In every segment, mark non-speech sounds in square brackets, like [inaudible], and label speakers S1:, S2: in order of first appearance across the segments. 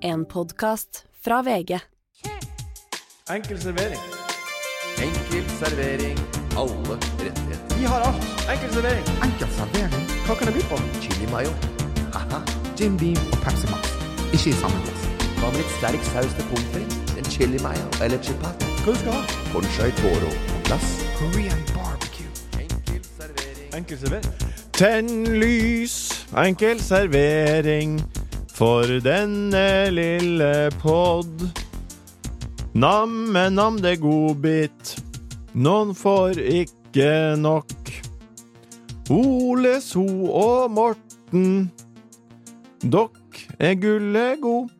S1: En podkast fra VG.
S2: Enkel servering.
S3: Enkel servering. Alle rettigheter.
S2: Vi har alt. Enkel servering.
S4: Enkel servering.
S2: Hva kan jeg by på?
S3: Chili mayo. Haha.
S4: Jim Beam og Pepsi Max. Ikke i samme glass.
S3: Hva med litt sterk saus til pommes frites? En chili mayo eller chipat?
S2: Hva du skal ha?
S3: Conchai toro på glass.
S4: Korean barbecue.
S3: Enkel servering.
S2: Enkel servering. Tenn lys. Enkel servering for denne lille podd. Namme nam det godbit. Noen får ikke nok. Ole So og Morten. Dokk er gullet god.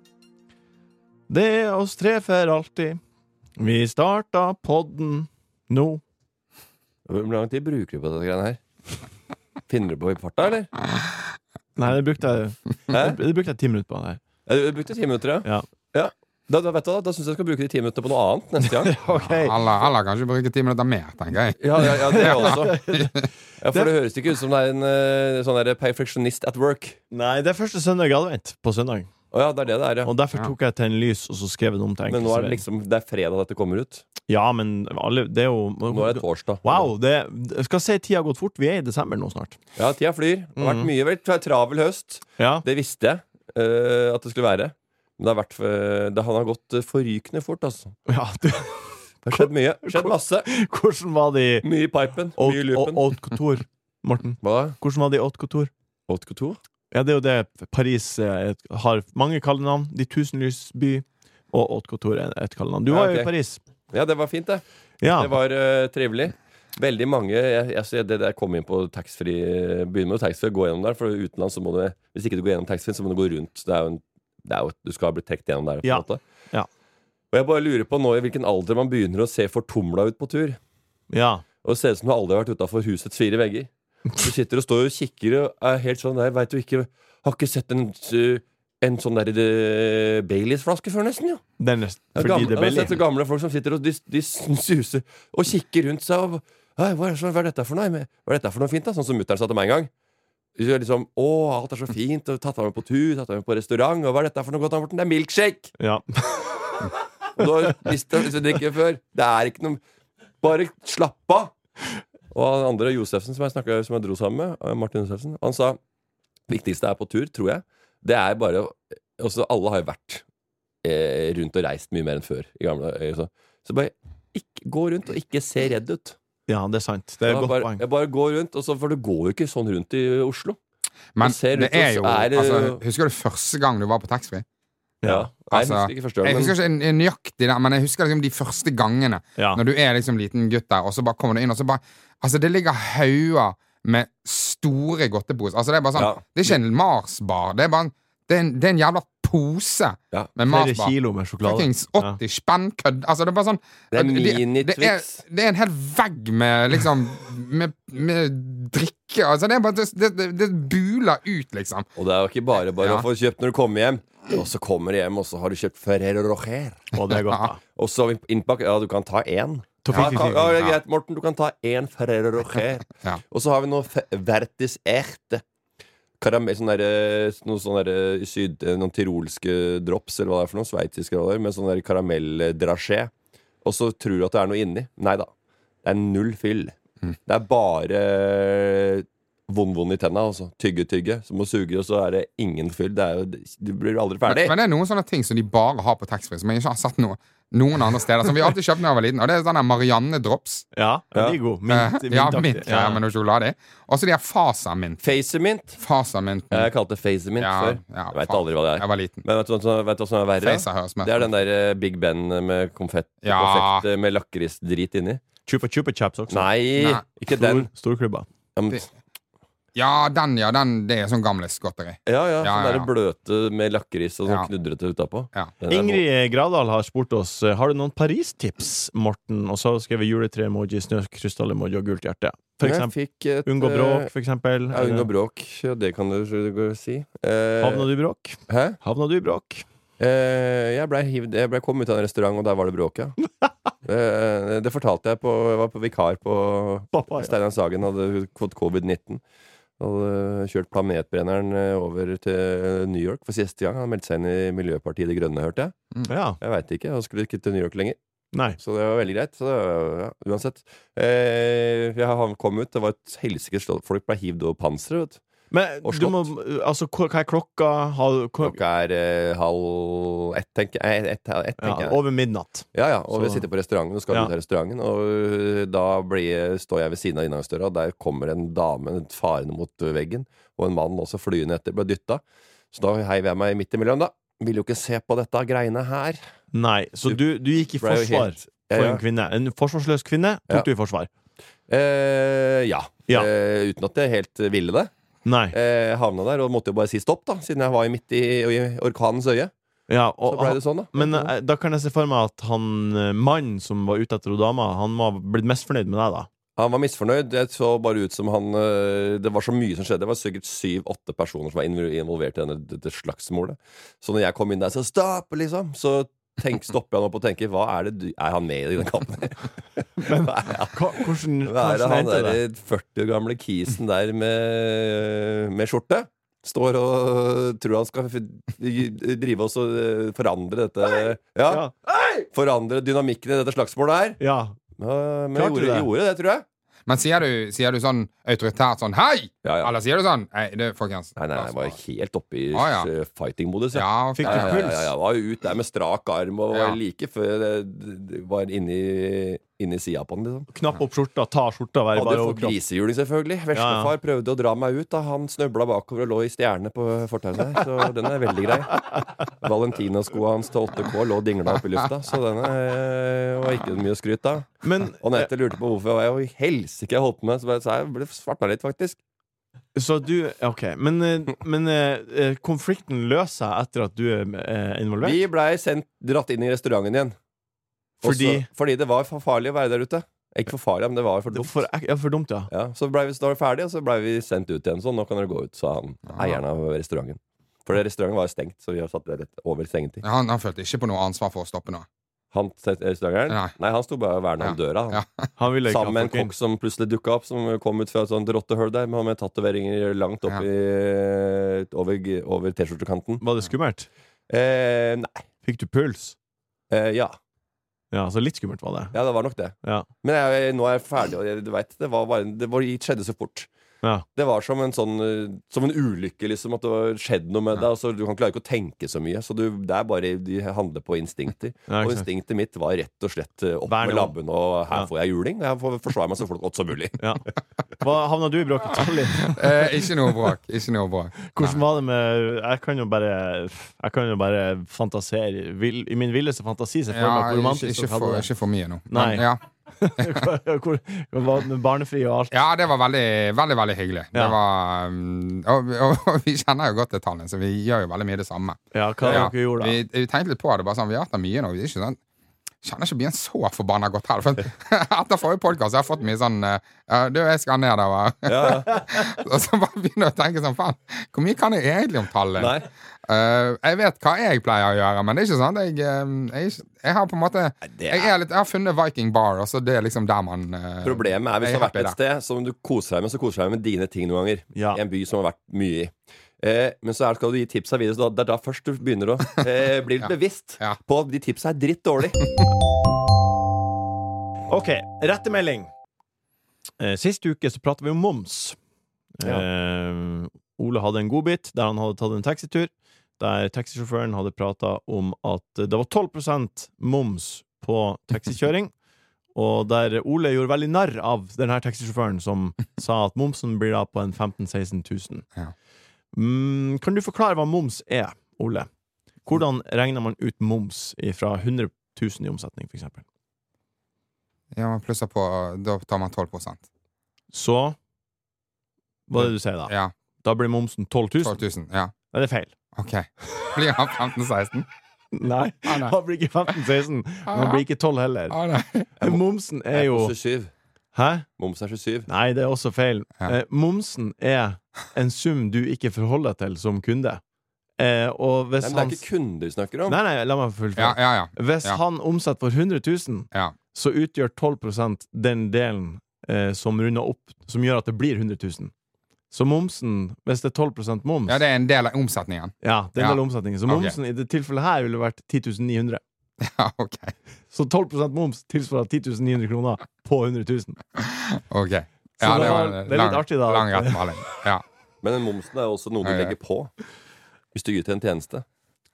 S2: Det er oss tre for alltid. Vi starta podden nå.
S3: Hvor lang tid bruker du på dette greiene her? Finner du på i farta, eller?
S2: Nei, det brukte jeg
S3: Hæ?
S2: Det brukte jeg ti minutter på. Her.
S3: Ja, Du brukte ti minutter, ja?
S2: Ja.
S3: ja. Da, da, vet du, hva, da syns jeg jeg skal bruke de ti minuttene på noe annet neste gang.
S2: Ok.
S4: Alle, alle kan ikke bruke ti minutter mer, tenker jeg.
S3: [laughs] Ja, ja, ja det også. Ja, for det høres ikke ut som det er en eh, sånn der perfeksjonist at work.
S2: Nei, det er første søndag i advent. På søndag
S3: Å ja, det er det det er, ja.
S2: Og derfor
S4: Ja.
S2: tok jeg til en lys, og så skrev jeg det om til
S3: Men nå er det
S2: enkeltservering.
S3: liksom Det er fredag dette kommer ut.
S2: Ja, men alle, det er jo
S3: Nå er det torsdag.
S2: Wow! Det, jeg skal si tida har gått fort. Vi er i desember nå snart.
S3: Ja, tida flyr. Det har vært mye vel, travel høst.
S2: Ja, [laughs]
S3: Det visste jeg eh, at det skulle være. Men det har vært, eh, det, han har gått eh, forrykende fort, altså.
S2: ja du,
S3: Det har skjedd mye. Skjedd masse.
S2: Hvordan var det i
S3: Mye i pipen. Mye i
S2: Haute
S3: loopen.
S2: Haute Couture, Morten?
S3: Hva?
S2: Hvordan var det i Haute Couture?
S3: Haute Couture?
S2: Ja, det er jo det Paris eh, et- har mange kallenavn. De tusenlys by. Og Haute Couture er et kallenavn. Du
S3: Ja,
S2: var jo
S3: ok.
S2: i Paris.
S3: Ja, det var fint, det.
S2: Ja.
S3: Det var eh, trivelig. Veldig mange jeg, jeg, ser det der kom inn på taxfree eh, Begynner med taxfree og gå gjennom der, for utenlands så må du Hvis ikke du går gjennom taxfree, så må du gå rundt. Det er jo en, det er jo, du skal bli trukket gjennom der, på en
S2: Ja.
S3: måte.
S2: Ja.
S3: Og jeg bare lurer på nå i hvilken alder man begynner å se fortumla ut på tur.
S2: ja.
S3: Og det ser ut som du aldri har vært utafor husets fire vegger. Du sitter og står og kikker og er helt sånn der, veit du ikke Har ikke sett en, eh, en sånn der eh, Baileys-flaske før, nesten, jo.
S2: Det er nesten
S3: Ja,
S2: fordi
S3: gamle,
S2: det er
S3: jeg har
S2: billig.
S3: sett så gamle folk som sitter og de, de suser og kikker rundt seg og «Hei, hva, er, så- hva er dette for noe? Men Hva er dette for noe fint da? Sånn som mutteren sa til meg en gang. Så jeg Liksom, å, alt er så fint, og tatt av meg på tur, tatt av meg på restaurant, og hva er dette for noe godt, da, Morten? Det er milkshake!
S2: Ja. [laughs]
S3: Og du har visst det hvis du drikker før. Det er ikke noe Bare slapp av! Og han andre, Josefsen, som jeg, snakket, som jeg dro sammen med, eh, Martin Josefsen, han sa viktigste er på tur, tror jeg, det er bare å- Også alle har jo vært eh, rundt og reist mye mer enn før i gamle eh, Så, så bare ikke, gå rundt og ikke se redd ut.
S2: Ja, det er sant. Det er et
S3: Ja,
S2: godt
S3: bare,
S2: poeng.
S3: ja, bare gå rundt, og så, for det går jo ikke sånn rundt i Oslo.
S4: Men
S3: Det ser ut
S4: det er jo
S3: som- er det-
S4: altså, Husker du første gang du var på taxfree?
S2: Ja.
S3: Nei, jeg
S4: Altså,
S3: husker ikke
S4: Jeg
S3: første gang,
S4: husker
S3: men
S4: ikke en- en nøyaktig det, men jeg husker liksom de første gangene.
S2: Ja.
S4: Når du er liksom liten gutt der, og så bare kommer du inn, og så bare Altså, det ligger hauger med store godteposer. Altså, det er bare sånn
S3: Ja.
S4: Det er ikke en Mars-bar. Det er bare en, det er en, det er en jævla pose
S3: Ja.
S4: med
S2: Flere
S4: Mars-bar.
S2: kilo med sjokolade.
S4: Fuckings 80 spenn kødd. Altså, det er bare sånn
S3: Det er
S4: det, det, er,
S3: mini-Twix.
S4: det er en hel vegg med liksom Med, med drikke. Altså, det er bare det, det, det, det buler ut, liksom.
S3: Og det er jo ikke bare bare
S4: Ja.
S3: å få kjøpt når du kommer hjem. Og så kommer du hjem, og så har du kjøpt Ferrero Rocher.
S2: Ja. Og det er godt,
S4: [laughs]
S2: da.
S3: Og så innpakk Ja, du kan ta én. Ja,
S2: Toffifee.
S3: kan, ja, det er greit, Morten. Du kan ta én Ferrero Rocher.
S4: Ja.
S3: Og så har vi noe fe- Vertis Erte. Karamell, sånn derre- noe sånn derre syd... Noen tirolske drops, eller hva det er for noe. Sveitsiske eller hva det er, med sånn der karamelldrasje. Og så tror du at det er noe inni. Nei da. Det er null fyll.
S4: Mm.
S3: Det er bare eh, vond-vond i tenna, altså. Tygge-tygge. Så må suge, og så er det ingen fyll. Det er jo, du blir aldri ferdig.
S4: Men det er noen sånne ting som de bare har på taxfree, som jeg ikke har sett noe, noen andre steder. Som vi alltid kjøpte da jeg var liten. Og det er sånn der Marianne Drops.
S2: Ja, ja, de er gode. Mint,
S4: Eh, ja,
S2: mintaktig.
S4: mint ja, med noe sjokolade i. Og så de her Fasamint.
S3: Facermint.
S4: Fasaminten.
S3: Jeg kalte det Facermint
S4: Ja,
S3: før.
S4: ja,
S3: jeg veit
S4: faen.
S3: aldri hva det er.
S4: Jeg var liten.
S3: Men vet du hva som- vet du hva som er verre?
S4: Facer høres med
S3: Det er den der eh, Big Ben med konfett,
S4: Ja.
S3: konfekt eh, med lakrisdrit inni.
S2: Chupa Chupa Chaps også.
S3: Nei,
S4: Nei.
S2: Stor,
S3: ikke den.
S2: storklubba.
S3: Ja, men-
S4: Det- Ja, den, ja. Den, det er sånn gamlesgodteri.
S3: ja, ja,
S4: Ja,
S3: sånn
S4: ja,
S3: der
S4: ja.
S3: bløte med lakris og sånn
S4: Ja.
S3: knudrete utapå.
S4: Ja.
S3: Den er
S2: Ingrid Gradal har spurt oss eh, Har du noen Paris-tips, Morten. Og så skrev vi juletre-emoji, snøkrystall-emoji og gult hjerte. For
S3: god. Jeg
S2: eksempel,
S3: fikk et,
S2: unngå bråk,
S3: eh,
S2: for eksempel.
S3: Ja, unngå bråk. ja, Det kan du s- si. Eh,
S2: Havna du i bråk?
S3: Hæ?
S2: Havna du i bråk?
S3: Eh, jeg blei hivd Jeg ble kom ut av en restaurant, og der var det bråk, ja.
S2: [laughs]
S3: Eh, det fortalte jeg på Jeg var på vikar på
S2: Pappa, ja.
S3: Steinar Sagen hadde fått covid-19. Hadde kjørt planetbrenneren eh, over til eh, New York for siste gang. Han meldte seg inn i Miljøpartiet De Grønne, hørte jeg.
S2: Ja.
S3: Jeg veit ikke. Han skulle ikke til New York lenger.
S2: Nei.
S3: Så det var veldig greit. Så det, var- ja, uansett. Eh, jeg, han kom ut, det var et helsikes slått. Folk ble hivd over panseret, vet du.
S2: Men
S3: Og
S2: du må Altså, hva hva er klokka? Har, hva,
S3: Klokka er eh, halv ett, tenker jeg. Ett, ett, ett,
S2: ja,
S3: tenker jeg.
S2: over midnatt.
S3: Ja, ja, og vi
S2: Så-
S3: sitter på restauranten og skal
S2: Ja.
S3: ut av restauranten. Og øh, da blir, står jeg ved siden av inngangsdøra, og der kommer en dame farende mot øh, veggen. Og en mann også flyende etter, ble dytta. Så da heiv jeg meg midt imellom, da. Vil jo ikke se på dette greiene her.
S2: Nei. Så du, du gikk i
S3: For det er jo
S2: forsvar
S3: helt-
S2: for
S3: Ja,
S2: en kvinne. En forsvarsløs kvinne tok
S3: Ja.
S2: du i forsvar.
S3: ja. Eh, ja.
S2: Ja.
S3: Eh, uten at jeg helt ville det.
S2: Nei.
S3: Eh, havna der og måtte jo bare si stopp, da, siden jeg var jo midt i, i orkanens øye.
S2: Ja,
S3: Så
S2: og,
S3: blei det sånn, da.
S2: men eh, da kan jeg se for meg at han eh, mannen som var ute etter hun dama, han må ha blitt mest fornøyd med deg, da.
S3: Han var misfornøyd. Jeg så bare ut som han øh, Det var så mye som skjedde. Det var sikkert syv-åtte personer som var inv- involvert i denne, dette slagsmålet. Så når jeg kom inn der, så stopp, liksom. Så tenk, stopper jeg nå på å tenke Hva er det du Er han med i den kampen? [laughs] hva er,
S2: Hva, hvordan
S3: hva er det
S2: hvordan
S3: han
S2: endte det?
S3: der 40 år gamle kisen der med, med skjorte? Står og tror han skal f- drive oss og øh, forandre dette Ja,
S2: Ja.
S3: forandre dynamikken i dette slagsmålet her.
S2: ja. Klarte
S3: Men jeg
S2: du
S3: gjorde,
S2: det?
S3: gjorde det, tror jeg.
S4: Men sier du, sier du sånn autoritært sånn Hei!
S3: Ja, ja.
S4: Eller sier du sånn Nei, det, folkens.
S3: Nei, nei,
S4: la oss
S3: jeg var
S4: bare-
S3: helt oppe i
S4: Ah, ja.
S3: eh, fighting-modus.
S4: ja,
S2: Fikk
S3: Ja,
S2: du
S3: ja, ja,
S2: puls?
S3: ja, jeg var jo ut der med strak arm og var
S4: Ja.
S3: like før jeg var inni, inni sida på den. liksom
S2: Knapp opp skjorta, ta skjorta, være
S3: Hadde
S2: bare
S3: jo fått
S2: overkropp.
S3: grisehjuling, selvfølgelig. Veslefar prøvde å dra meg ut. da Han snøbla bakover og lå i stjerne på fortauet der. Så den er veldig grei. Valentinaskoa hans til 8K lå og dingla opp i lufta, så den eh, var ikke mye å skryte av. [laughs]
S2: Men
S3: Og Nete lurte på hvorfor jeg var i helsike jeg holdt på med, så bare sa jeg ble svartna litt, faktisk.
S2: eh, Så du Ok. Men, eh, men eh, eh, konflikten løser seg etter at du er eh, involvert?
S3: Vi blei sendt- dratt inn i restauranten igjen.
S2: Fordi
S3: Også, fordi det var for farlig å være der ute. Ikke for farlig, men det var for
S2: det var
S3: dumt.
S2: for, ek- ja, for dumt, ja.
S3: Ja, så blei vi da var vi ferdig, og så blei vi sendt ut igjen. Sånn, nå kan dere gå ut, sa han
S4: Ah.
S3: eieren av restauranten. For det- restauranten var jo stengt, så vi har satt det rett over stengetid.
S4: Ja, han, han følte ikke på noe ansvar for å stoppe nå.
S3: Han restauranteren?
S4: Nei.
S3: Nei. han sto bare og verna om
S4: Ja.
S3: døra.
S4: Ja.
S3: Han.
S2: Han ville ikke
S3: Sammen med en
S2: ha folk inn.
S3: kokk som plutselig dukka opp, som kom ut fra et sånt rottehull der, med, med tatoveringer langt opp
S4: Ja.
S3: i, over, over T-skjortekanten.
S2: Var det skummelt?
S3: Eh, nei.
S2: Fikk du puls?
S3: Eh, ja.
S2: Ja, så litt skummelt var det.
S3: Ja, det var nok det.
S2: Ja.
S3: Men jeg, nå er jeg ferdig, og jeg, du vet, det, var bare, det, var, det skjedde så fort.
S2: Ja.
S3: Det var som en sånn eh, Som en ulykke, liksom. At det var skjedd noe med deg. og så Du kan klare ikke å tenke så mye. Så du, det er bare Du handler på instinkter.
S2: Ja,
S3: og
S2: ikke sant.
S3: instinktet mitt var rett og slett eh, opp
S2: Vær
S3: med
S2: nå.
S3: labben, og her
S2: Ja.
S3: får jeg juling. Jeg får forsvare meg så fort- godt som
S2: [laughs]
S3: mulig.
S2: Ja. Hva, havna du i bråket? Tallinn?
S4: Eh, ikke noe bråk. Ikke noe bråk.
S2: Hvordan var det med Jeg kan jo bare Jeg kan jo bare fantasere vil, I min villeste fantasi ser jeg for
S4: Ja,
S2: meg hvor
S4: ikke,
S2: romantisk
S4: ikke,
S2: dere
S4: for,
S2: hadde det.
S4: ikke for mye nå.
S2: Nei.
S4: Men, ja.
S2: [laughs] Hvor- hvor- hvor var det med Barnefri og alt.
S4: ja, det var veldig, veldig veldig hyggelig. Det
S2: Ja.
S4: var, mm, og, og, [laughs] og vi kjenner jo godt til tallene, så vi gjør jo veldig mye det samme.
S2: Ja, hva
S4: Ja.
S2: dere gjorde da?
S4: Vi, vi tenkte litt på det, bare sånn, vi har hatt det mye nå. Vi er ikke sånn, kjenner ikke byen så forbanna godt her. For [laughs] etter forrige podkast har jeg fått mye sånn eh, «Ja, Du, jeg skal ned der. hva?» [laughs] og så bare begynner jeg å tenke sånn, faen, hvor mye kan jeg egentlig om tallet?
S3: Nei.
S4: Eh, jeg vet hva jeg pleier å gjøre, men det er ikke sånn. at Jeg, eh, jeg, er ikke- jeg har på en måte
S3: det
S4: jeg, er litt, jeg har funnet Viking Bar, og så det er liksom der man eh,
S3: Problemet er hvis
S4: jeg
S3: du har
S4: happy
S3: vært et sted som du koser deg med, så koser du deg med dine ting noen ganger.
S2: Ja.
S3: I en by som har vært mye i. Eh, men så er, skal du gi tipsa videre, så da- det er da først du begynner å eh, bli litt bevisst
S4: [laughs] Ja.
S3: på at de tipsa er dritt dårlig.
S2: OK, rettemelding. Eh, Sist uke så prata vi om moms.
S3: Ja.
S2: Eh, Ole hadde en godbit der han hadde tatt en taxitur. Der taxisjåføren hadde prata om at det var 12 moms på taxikjøring. Og der Ole gjorde veldig narr av denne taxisjåføren som sa at momsen blir da på en 15 000-16 000.
S4: Ja.
S2: Mm, kan du forklare hva moms er, Ole? Hvordan regner man ut moms fra 100 000 i omsetning, for eksempel?
S4: Ja, man plusser på, da tar man 12
S2: Så Hva er det du sier da?
S4: Ja,
S2: Da blir momsen 12
S4: 12
S2: 000?
S4: 000. Ja.
S2: Nei, det er feil.
S4: Ok. [laughs] Blir han 15-16?
S2: Nei,
S4: Ah, nei.
S2: han blir ikke 15-16. Men han blir ikke 12 heller.
S4: Ah, nei.
S2: Momsen er jo
S3: Moms er 27.
S2: Hæ?
S3: Moms er 27.
S2: Nei, det er også feil.
S4: Ja.
S2: Eh, momsen er en sum du ikke forholder deg til som kunde. Eh, og hvis
S3: Nei, men det
S2: han
S3: er ikke kunder vi snakker om.
S2: Nei, nei, la meg
S4: Ja,
S2: fullføre.
S4: ja, ja.
S2: Hvis han omsetter for 100 000,
S4: Ja.
S2: så utgjør 12 den delen eh, som runder opp, som gjør at det blir 100 000. Så momsen, hvis det er 12 moms
S4: Ja, det er en del av omsetningen. [laughs]
S2: Ja, det er en del
S4: Ja.
S2: omsetning. Så
S4: Ok.
S2: momsen i det tilfellet her ville vært 10 900.
S4: Ja, ok.
S2: Så 12 moms tilsvarer 10 900 kroner på 100 000.
S4: ok.
S2: Så
S4: Ja, det
S2: det var-
S4: var en
S2: det er litt
S4: lang,
S2: artig da, at-
S4: lang rettmaling. Ja.
S3: Men den momsen er jo også noe du
S4: Ja, ja.
S3: legger på hvis du yter en tjeneste.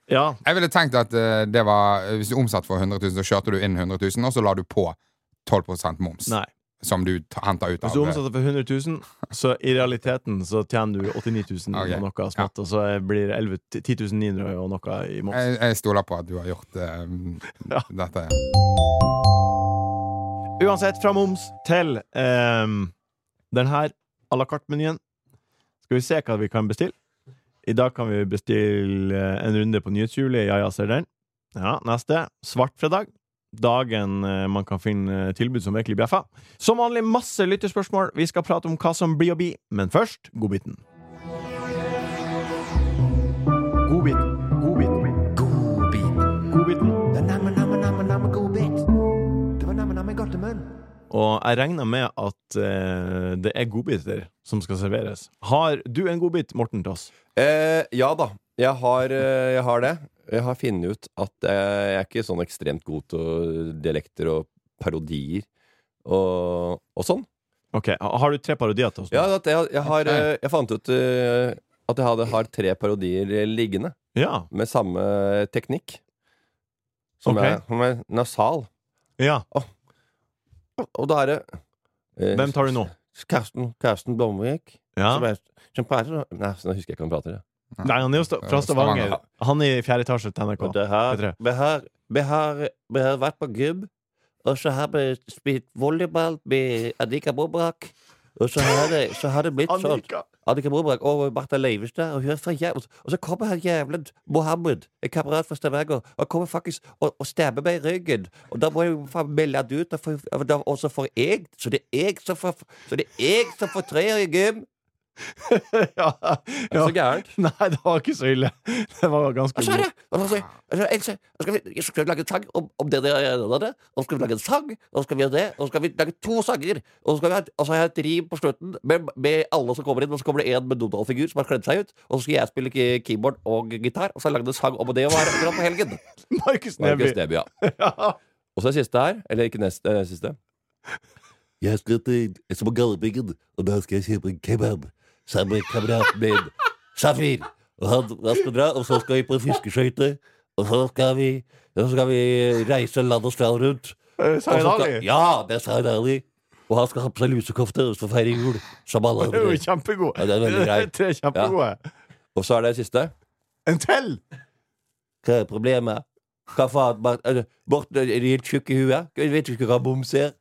S2: Ja,
S4: Jeg ville tenkt at eh, det var Hvis du omsatte for 100 000, så kjørte du inn 100 000, og så la du på 12 moms.
S2: nei.
S4: Som du ta- henter ut av
S2: Hvis
S4: eh,
S2: du omsetter for 100 000, så i realiteten så tjener du 89 000
S4: Ok.
S2: og noe smått, og så blir det 11 10 900 og noe i moms.
S4: jeg, jeg stoler på at du har gjort eh,
S2: [laughs] Ja.
S4: dette.
S2: Uansett, fra moms til ehm, den her à la carte-menyen. Skal vi se hva vi kan bestille. I dag kan vi bestille eh, en runde på nyhetshjulet. Ja, ja, ser den. Ja, neste. Svartfredag. Dagen eh, man kan finne eh, tilbud som virkelig bjeffer. Som vanlig masse lytterspørsmål. Vi skal prate om hva som blir å bli, men først godbiten. Godbit. Godbit. Godbiten. Og jeg regner med at eh, det er godbiter som skal serveres. Har du en godbit, Morten, til oss?
S3: Eh, ja da, jeg har, eh, jeg har det. Jeg har funnet ut at eh, jeg er ikke sånn ekstremt god til dialekter og parodier og, og sånn.
S2: Ok, ha- Har du tre parodier til oss? nå?
S3: Ja, at jeg, jeg, har,
S4: Ok.
S3: eh, jeg fant ut eh, at jeg hadde, har tre parodier eh, liggende
S2: ja.
S3: med samme teknikk. Som
S2: Ok.
S3: er, som er nasal.
S2: ja.
S3: Og da er det eh,
S2: Hvem tar du nå?
S3: Karsten, Karsten Blomvik.
S2: Ja.
S3: Som er, som prater, nei, så nå husker jeg ikke hva han prater. Ja.
S2: Nei, han er jo sta- fra Stavanger.
S4: Stavanger.
S2: Han er i fjerde etasje til NRK.
S3: Og det her,
S2: Petre.
S3: vi har, vi har, vi har vært på gubb, og så har vi spilt volleyball med Adika Bobrak. Og så har det, så har det blitt sånn. Adika Bobrak og Martha Leivestad. Og, hun er fra Jæv- og så kommer han jævla Mohammed, en kamerat fra Stavanger, og kommer faktisk og, og stabber meg i ryggen. Og da må jeg jo faen melde det ut, og, for, og da- og så får jeg Så det er jeg som får, så det er jeg som får treer i gym.
S2: [laughs] ja. ja.
S3: gærent.
S2: [laughs] Nei, det var ikke så ille. [laughs] Det var ganske
S3: Og så er
S2: godt.
S3: det og så- og så- og så skal vi, jeg skal lage en sang om, om det der og det der, Og så skal vi lage en sang, og så skal vi gjøre det, og så skal vi lage to sanger. Og så, skal vi ha, et- og så har jeg et rim på slutten med, med alle som kommer inn, og så kommer det en med Donald-figur som har kledd seg ut. Og så skal jeg spille ki- keyboard og gitar, og så har jeg lagd en sang om det å være akkurat på helgen.
S2: Markus Neby. [laughs] Ja.
S3: Og så er siste her, eller ikke neste, eh, siste. Jeg skal til jeg skal på Galdhøpiggen, og da skal jeg kjøpe en kebab sammen med kameraten min, Safir. Og han, han skal dra, og så skal vi på fiskeskøyter, og så skal vi, og så skal vi reise land og strand rundt.
S2: Eh,
S3: Og så
S2: Zaid Ali.
S3: skal, ja, det er Zaid Ali. Og han skal ha på seg lusekofte og så feire jul som alle
S2: [laughs] Det er jo
S3: andre.
S2: kjempegod.
S3: Ja, det er veldig grei.
S2: [laughs] Tre kjempegode.
S3: Og så er det siste.
S2: En til! [laughs]
S3: Hva er problemet? Hva faen? Mar- eh, Morten er helt tjukk i huet. Vet du ikke hva boms er?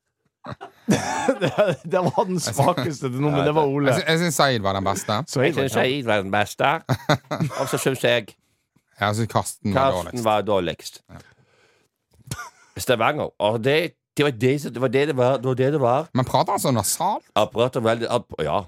S2: Det, det var den
S3: Altså,
S2: svakeste til nå,
S3: [laughs]
S2: men
S3: Nei,
S2: det var
S4: Jeg,
S2: Ole.
S3: altså,
S4: sy- jeg syns Saeed var den beste.
S2: Så jeg var kjempe-
S3: var den beste.
S4: [laughs]
S3: Og så syns jeg
S4: Jeg syns Karsten var
S3: Karsten
S4: Mm, dårligst.
S3: var dårligst. Stavanger. Og det, det var det som- det var. Det det var, det var, det det var.
S4: Men prater han sånn så nasalt?
S3: Apparatet var veldig app- Ja.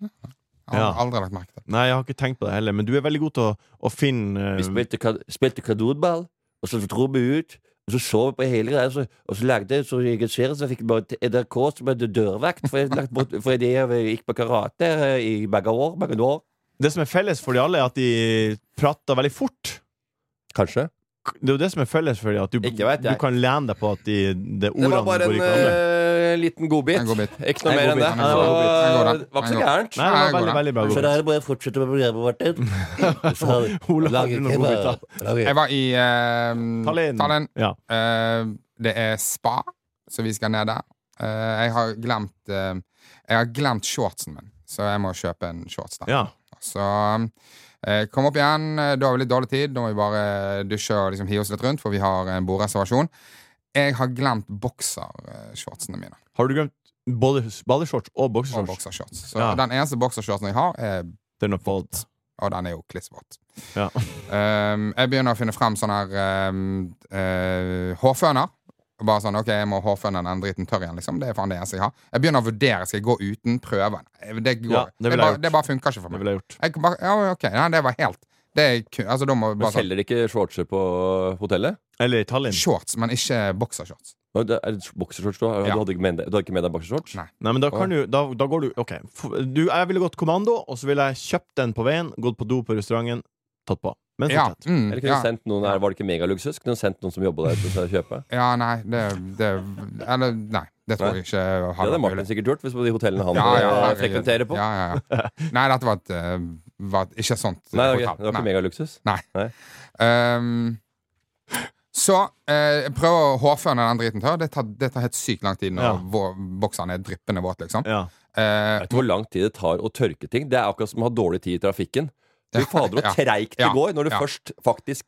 S4: Jeg har
S2: Ja.
S4: aldri lagt merke til det.
S2: Nei, jeg har ikke tenkt på det heller, men du er veldig god til å, å finne eh,
S3: Vi
S4: Mm.
S3: spilte, kan- spilte kanonball, og så dro vi ut. Og så så vi på hele greia, og så, og så lagde jeg så jeg en serie som jeg fikk bare til NRK som hadde dørvakt. For jeg, lagt bort, for jeg gikk på karate eh, i mange år. Mange år.
S2: Det som er felles for de alle, er at de prater veldig fort.
S3: Kanskje.
S2: Det er jo det som er felles for de, at du,
S3: Ikke vet jeg.
S2: du kan lene deg på at de, det
S3: Det
S2: ordene
S3: var
S2: går
S3: bare en
S2: ikke an.
S3: eh, liten godbit.
S4: En godbit.
S3: Ikke noe
S2: En
S3: mer enn
S2: godbit.
S3: det.
S2: Ja, det var en
S4: godbit. En
S3: Så
S4: godbit.
S3: det var
S4: En
S3: ikke så gærent.
S2: Nei, det var
S4: Nei,
S2: veldig, veldig bra.
S3: Så
S2: Robert.
S3: da er det bare å fortsette med programmet,
S4: [laughs]
S3: Martin. Så har vi-
S2: Ole har
S3: lager
S2: ikke noe
S3: kebab. Lager-
S4: Jeg var i eh,
S2: Tallinn.
S4: Tallinn.
S2: Ja.
S4: Eh, det er spa, så vi skal ned der. Eh, jeg har glemt eh, Jeg har glemt shortsen min, så jeg må kjøpe en shorts der.
S2: Ja.
S4: Så eh, kom opp igjen. eh, Da har vi litt dårlig tid. Da må vi bare dusje og liksom hive oss litt rundt, for vi har en bordreservasjon. Jeg har glemt boksershortsene mine.
S2: Har du glemt både badeshorts og
S4: Og
S2: boksershorts?
S4: boksershorts. Så
S2: Ja.
S4: den eneste boksershortsen jeg har, er,
S2: Det er noe vått.
S4: og den er jo klissvåt.
S2: Ja.
S4: Ehm, jeg begynner å finne frem sånne her ehm, eh, hårføner. Bare sånn, ok, jeg må hårføne den driten tørr igjen, liksom. Det er faen det eneste jeg har. Jeg begynner å vurdere, skal jeg gå uten prøve? Nei, Det, går.
S2: Ja, det
S4: det,
S2: ville jeg
S4: bare,
S2: gjort.
S4: det bare funker ikke for
S2: Det
S4: meg.
S2: ville jeg gjort.
S4: Jeg kan bare, ja, ok, nei, det var helt det er, ku- altså, da må vi
S3: Men
S4: bare sånn,
S3: Selger de ikke shortser på hotellet?
S2: Eller i Tallinn.
S4: Shorts, men ikke boksershorts.
S3: Nå, det er Boksershorts du har?
S4: Ja.
S3: Du, hadde ikke med deg, du hadde ikke med deg boksershorts?
S4: Nei.
S2: Nei, men da kan du Da, da går du Ok. F- Du, jeg ville gått kommando, og så ville jeg kjøpt den på veien, gått på do på restauranten, tatt på. Men
S4: Ja,
S2: fortsett.
S4: mm,
S3: Eller kunne
S4: ja.
S3: du sendt noen her, Var det ikke megaluksus? Kunne du sendt noen som jobba der, til å kjøpe?
S4: ja, nei, det, det Eller, nei. Det tror jeg ikke hadde
S3: Det hadde
S4: vært
S3: Martin sikkert gjort, hvis på de hotellene han
S4: Ja, ja,
S3: eh,
S4: herregud.
S3: frekventerer på.
S4: Ja, ja, ja. Nei, dette var et, eh, var et ikke sånt
S3: Nei, ok,
S4: hotell.
S3: det var
S4: Nei.
S3: ikke megaluksus.
S4: Ehm, så eh, prøv å hårføne den driten tørr. Det tar, det tar helt sykt lang tid når
S2: Ja.
S4: vår, boksene er dryppende våte, liksom.
S2: Ja.
S4: Eh,
S3: Vet du hvor lang tid det tar å tørke ting? Det er akkurat som å ha dårlig tid i trafikken. Fy fader,
S4: Ja.
S3: så treigt det
S4: Ja.
S3: går når du
S4: Ja.
S3: først faktisk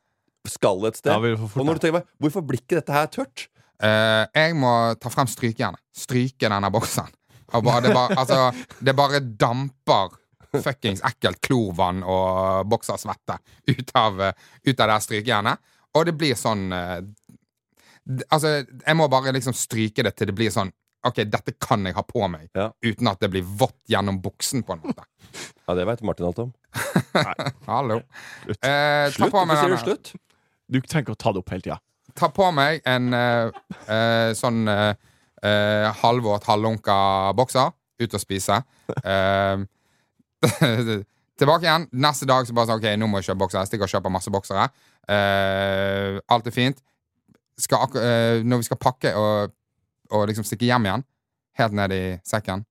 S3: skal et sted.
S2: Ja, vi får fort
S3: og når du tenker meg, Hvorfor blir ikke dette her tørt?
S4: eh, jeg må ta frem strykejernet. Stryke denne boksen. Og bare, det, bare, altså, det bare damper fuckings ekkelt klorvann og boksersvette ut av, eh, ut av det her strykejernet. Og det blir sånn eh, d- Altså, jeg må bare liksom stryke det til det blir sånn OK, dette kan jeg ha på meg
S3: Ja.
S4: uten at det blir vått gjennom buksen, på en måte.
S3: Ja, Det veit Martin alt om.
S4: Hallo.
S2: Slutt.
S4: Eh, ta,
S3: Slutt!
S4: på meg
S3: Hvorfor sier
S4: denne.
S3: du slutt?
S2: Du trenger ikke å ta det opp hele tida.
S4: ta på meg en eh, eh, sånn eh, eh, halvvåt, halvlunka bokser. Ut og spise. Eh, [laughs] tilbake igjen. Neste dag så bare sånn, ok, nå må jeg kjøpe bokser. Jeg stikker og kjøper masse boksere. Eh, alt er fint. Skal akku- eh, når vi skal pakke og, og liksom stikke hjem igjen, helt ned i sekken,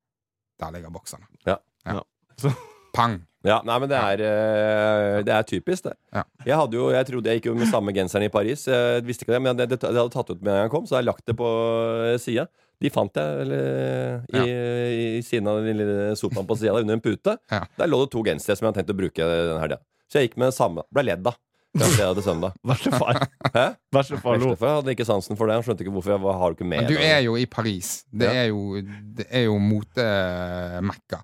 S4: der ligger bokserne.
S3: Ja.
S2: Ja. Så-
S4: Pang!
S3: Ja, nei, men det er, eh, det er typisk, det.
S4: Ja.
S3: Jeg hadde jo, jeg trodde jeg gikk jo med samme genseren i Paris. Jeg visste ikke det, men det, det, det hadde tatt ut med en gang jeg kom, så jeg har lagt det på sida. De fant jeg eller, eh, i, i siden av den lille sofaen på sida, under en pute.
S4: Ja.
S3: Der lå det to gensere som jeg hadde tenkt å bruke den helga. Så jeg gikk med den samme. Ble ledd av. Fra fredag til
S4: [laughs]
S3: søndag.
S2: Verste
S3: [laughs]
S2: far.
S3: Hæ?
S2: Verste far lo.
S3: Vestlefor hadde ikke sansen for det. Han skjønte ikke hvorfor jeg var, har du ikke med
S4: Men du
S3: deg-
S4: er jo i Paris. Det
S3: Ja.
S4: er jo, det er jo motemekka.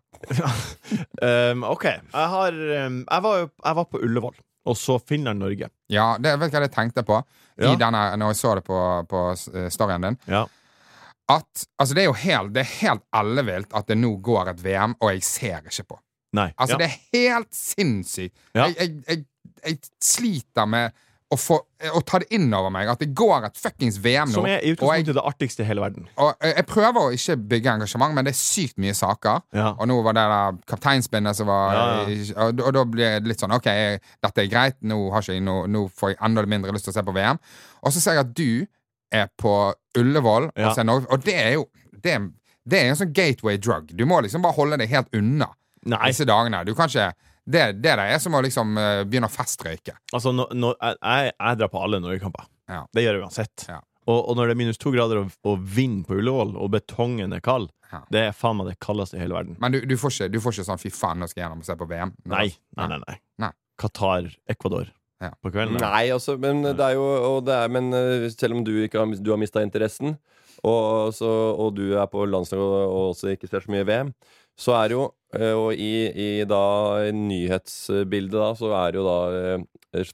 S2: Um, ok. Jeg har um, jeg, var, jo- jeg var på Ullevål, og så Finland-Norge.
S4: Ja, det vet du hva jeg tenkte på
S2: Ja.
S4: I denne, når jeg så det på, på eh, storyen din?
S2: Ja.
S4: At altså det er jo helt, det er helt ellevilt at det nå går et VM, og jeg ser ikke på.
S2: Nei.
S4: Altså,
S2: ja.
S4: det er helt sinnssykt.
S2: Ja.
S4: Jeg, jeg, jeg, jeg sliter med å, få, å ta det inn over meg at det går et fuckings VM nå.
S2: Som er
S4: og
S2: i
S4: jeg,
S2: utgangspunktet det artigste i hele verden.
S4: og eh, jeg, jeg prøver å ikke bygge engasjement, men det er sykt mye saker.
S2: Ja.
S4: Og nå var det der kapteinspinnet som var eh,
S2: Ja,
S4: Og, og da blir det litt sånn OK, jeg, dette er greit, nå, har ikke jeg noe- nå får jeg enda mindre lyst til å se på VM. Og så ser jeg at du er på Ullevål
S2: Ja.
S4: og ser Norge, og det er jo det, er- det er en sånn gateway drug. Du må liksom bare holde deg helt unna
S2: Nei,
S4: disse dagene. Du kan ikke Det, det der er som å liksom eh, begynne å festrøyke.
S2: altså når, når, jeg, jeg drar på alle Norgekamper.
S4: Ja.
S2: Det gjør jeg uansett.
S4: Ja.
S2: Og, og når det er minus to grader og, og vind på Ullevål, og betongen er kald,
S4: Ja.
S2: det er faen meg det kaldeste i hele verden.
S4: Men du, du, får ikke, du får ikke sånn 'fy faen, nå skal jeg gjennom og se på VM'.
S2: Nei,
S3: altså,
S2: nei, nei. nei.
S4: Nei.
S2: Qatar, Ecuador
S4: Ja.
S2: på kvelden.
S3: Nei, altså, men det er jo og det er, Men eh, selv om du ikke har, du har mista interessen, og, så, og du er på landslaget og, og også ikke ser så mye VM, så er jo eh, Og i, i da i nyhetsbildet, da, så er jo da eh,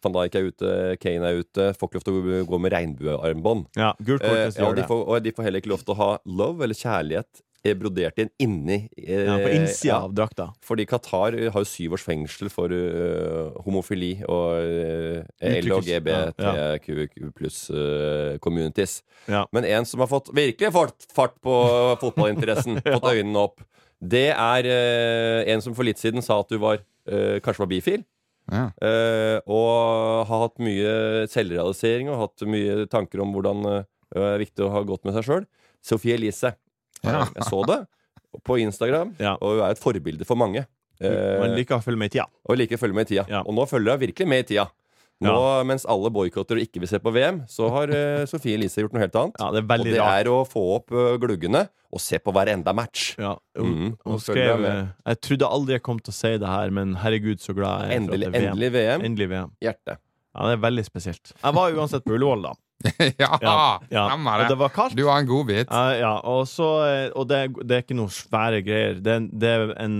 S3: Van Dijk er ute, Kane er ute, får ikke lov til å gå- gå med regnbuearmbånd.
S2: Ja, gult kort
S3: Eh,
S2: hvis du
S3: ja,
S2: gjør
S3: de
S2: det.
S3: får, og de får heller ikke lov til å ha love eller kjærlighet eh, brodert inn inni eh,
S2: Ja, på innsida
S3: ja.
S2: av drakta.
S3: Fordi Qatar har jo syv års fengsel for øh, homofili og øh, LHGBTQ pluss øh, communities.
S2: Ja.
S3: Men en som har fått virkelig fått fart på
S2: [laughs]
S3: fotballinteressen, fått øynene opp, det er øh, en som for litt siden sa at du var øh, kanskje var bifil.
S4: Ja.
S3: øh, og har hatt mye selvrealisering og hatt mye tanker om hvordan øh, det er viktig å ha godt med seg sjøl. Sophie Elise. Eh,
S4: Ja.
S3: Jeg så det på Instagram,
S2: Ja.
S3: og hun er et forbilde for mange.
S2: Man
S3: Eh,
S2: liker å følge med i tida.
S3: og liker å følge med i tida.
S2: Ja.
S3: Og nå følger jeg virkelig med i tida. Nå, Mens alle boikotter og ikke vil se på VM, så har eh, Sofie Elise gjort noe helt annet.
S2: Ja, det er
S3: og
S2: veldig
S3: det
S2: rart.
S3: er å få opp eh, gluggene og se på hver enda match.
S2: Ja, hun,
S3: Mhm.
S2: hun
S3: Og følger
S2: skrev
S3: med.
S2: eh, Jeg trodde aldri jeg kom til å si det her, men herregud, så glad jeg er for at det
S3: Endelig,
S2: er VM.
S3: endelig VM.
S2: Endelig VM.
S3: Hjerte.
S2: Ja, det er veldig spesielt. Jeg var uansett på Ullevål, da.
S4: [laughs] ja,
S2: Ja, ja.
S4: Ah, stemmer
S2: Og
S4: det.
S2: det var kaldt.
S4: Du har en godbit.
S2: Ja, ja, og, så, eh, og det, det er ikke noe svære greier. Det, er- det er en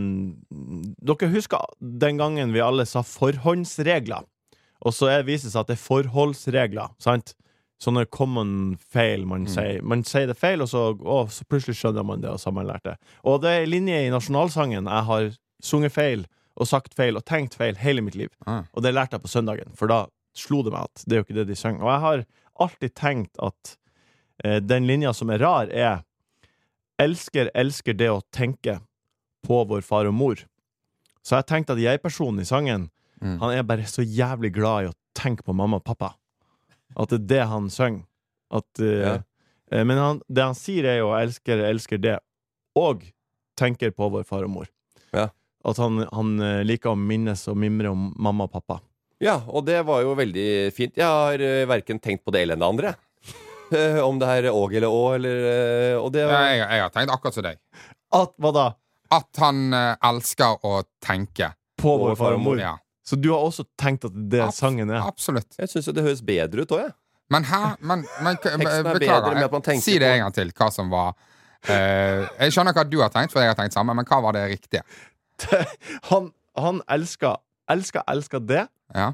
S2: Dere husker den gangen vi alle sa forhåndsregler? Og så er- viser det seg at det er forholdsregler. Sant? Sånne common feil man sier. Man sier det feil, og så, å, så plutselig skjønner man det. Og så har man lært det Og det er en linje i nasjonalsangen jeg har sunget feil og sagt feil og tenkt feil hele mitt liv.
S4: Ah.
S2: Og det lærte jeg på søndagen, for da slo det meg at det er jo ikke det de synger. Og jeg har alltid tenkt at Eh, Den linja som er rar, er Elsker, elsker det å tenke på vår far og mor. Så jeg tenkte at jeg-personen i sangen,
S4: Mm.
S2: han er bare så jævlig glad i å tenke på mamma og pappa. At det er det han synger. At, eh, eh, Men han, det han sier, er jo 'elsker, elsker det', og tenker på vår far og mor.
S3: Ja.
S2: At han, han eh, liker å minnes og mimre om mamma og pappa.
S3: Ja, og det var jo veldig fint. Jeg har uh, verken tenkt på det eller det andre. [laughs] Eh, om det er åg eller å, eller eh, Og det
S4: Ja, jeg, jeg har tenkt akkurat som deg.
S2: At, hva da?
S4: At han eh, elsker å tenke.
S2: På vår far og mor.
S4: Ja,
S2: Så du har også tenkt at det er
S4: Abs-
S2: sangen er?
S4: absolutt.
S3: Jeg syns jo det høres bedre ut òg, jeg.
S4: Men hæ? Men, men k-
S3: Teksten er bedre
S4: beklager.
S3: med at man
S4: Jeg,
S3: tenker
S4: si det
S3: på-
S4: en gang til, hva som var eh, Jeg skjønner hva du har tenkt, for jeg har tenkt samme, men hva var det riktige?
S2: Han, han elsker, elsker, elsker det,
S4: Ja.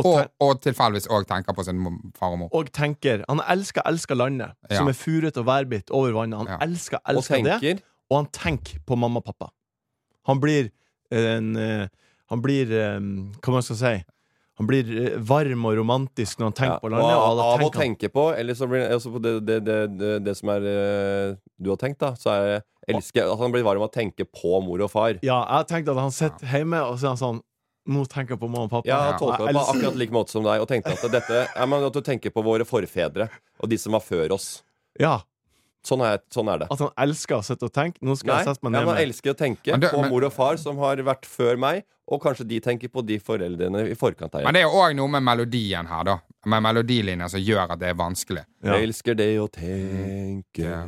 S2: og,
S4: Og,
S2: ten,
S4: og tilfeldigvis òg tenker på sin mom- far og mor.
S2: og tenker Han elsker, elsker landet,
S4: Ja.
S2: som er furet og værbitt over vannet. Han
S4: Ja.
S2: elsker,
S3: Og
S2: elsker det,
S3: tenker.
S2: og han tenker på mamma og pappa. Han blir en eh, Han blir eh, Hva man skal si? Han blir eh, varm og romantisk når han tenker
S3: Ja,
S2: på
S3: og
S2: landet. Og
S3: av,
S2: da
S3: av å
S2: tenker han
S3: tenke på, eller så blir altså, det, det, det, det, det som er eh, du har tenkt, da, så er jeg elsker at han blir varm av å tenke på mor og far.
S2: Ja, jeg tenkte at han sitter hjemme og så er han sånn Nå tenker jeg på mamma og pappa.
S3: Jeg har
S4: Ja,
S3: tolka
S2: jeg
S3: det på
S2: elsker-
S3: akkurat like måte som deg og tenkte at dette ja, men at du tenker på våre forfedre og de som var før oss.
S2: ja,
S3: Sånn er, sånn er det.
S2: At han elsker å sitte og tenke. Nå skal
S3: Nei,
S2: jeg
S3: ja,
S2: sette meg ned
S3: man
S2: med
S3: elsker å tenke
S4: Men det-
S3: på
S4: men-
S3: mor og far som har vært før meg, og kanskje de tenker på de foreldrene i forkant av
S4: Men
S3: jeg.
S4: det er jo òg noe med melodien her, da. Med melodilinja som gjør at det er vanskelig.
S2: Ja.
S3: Jeg elsker det å tenke
S4: Ja.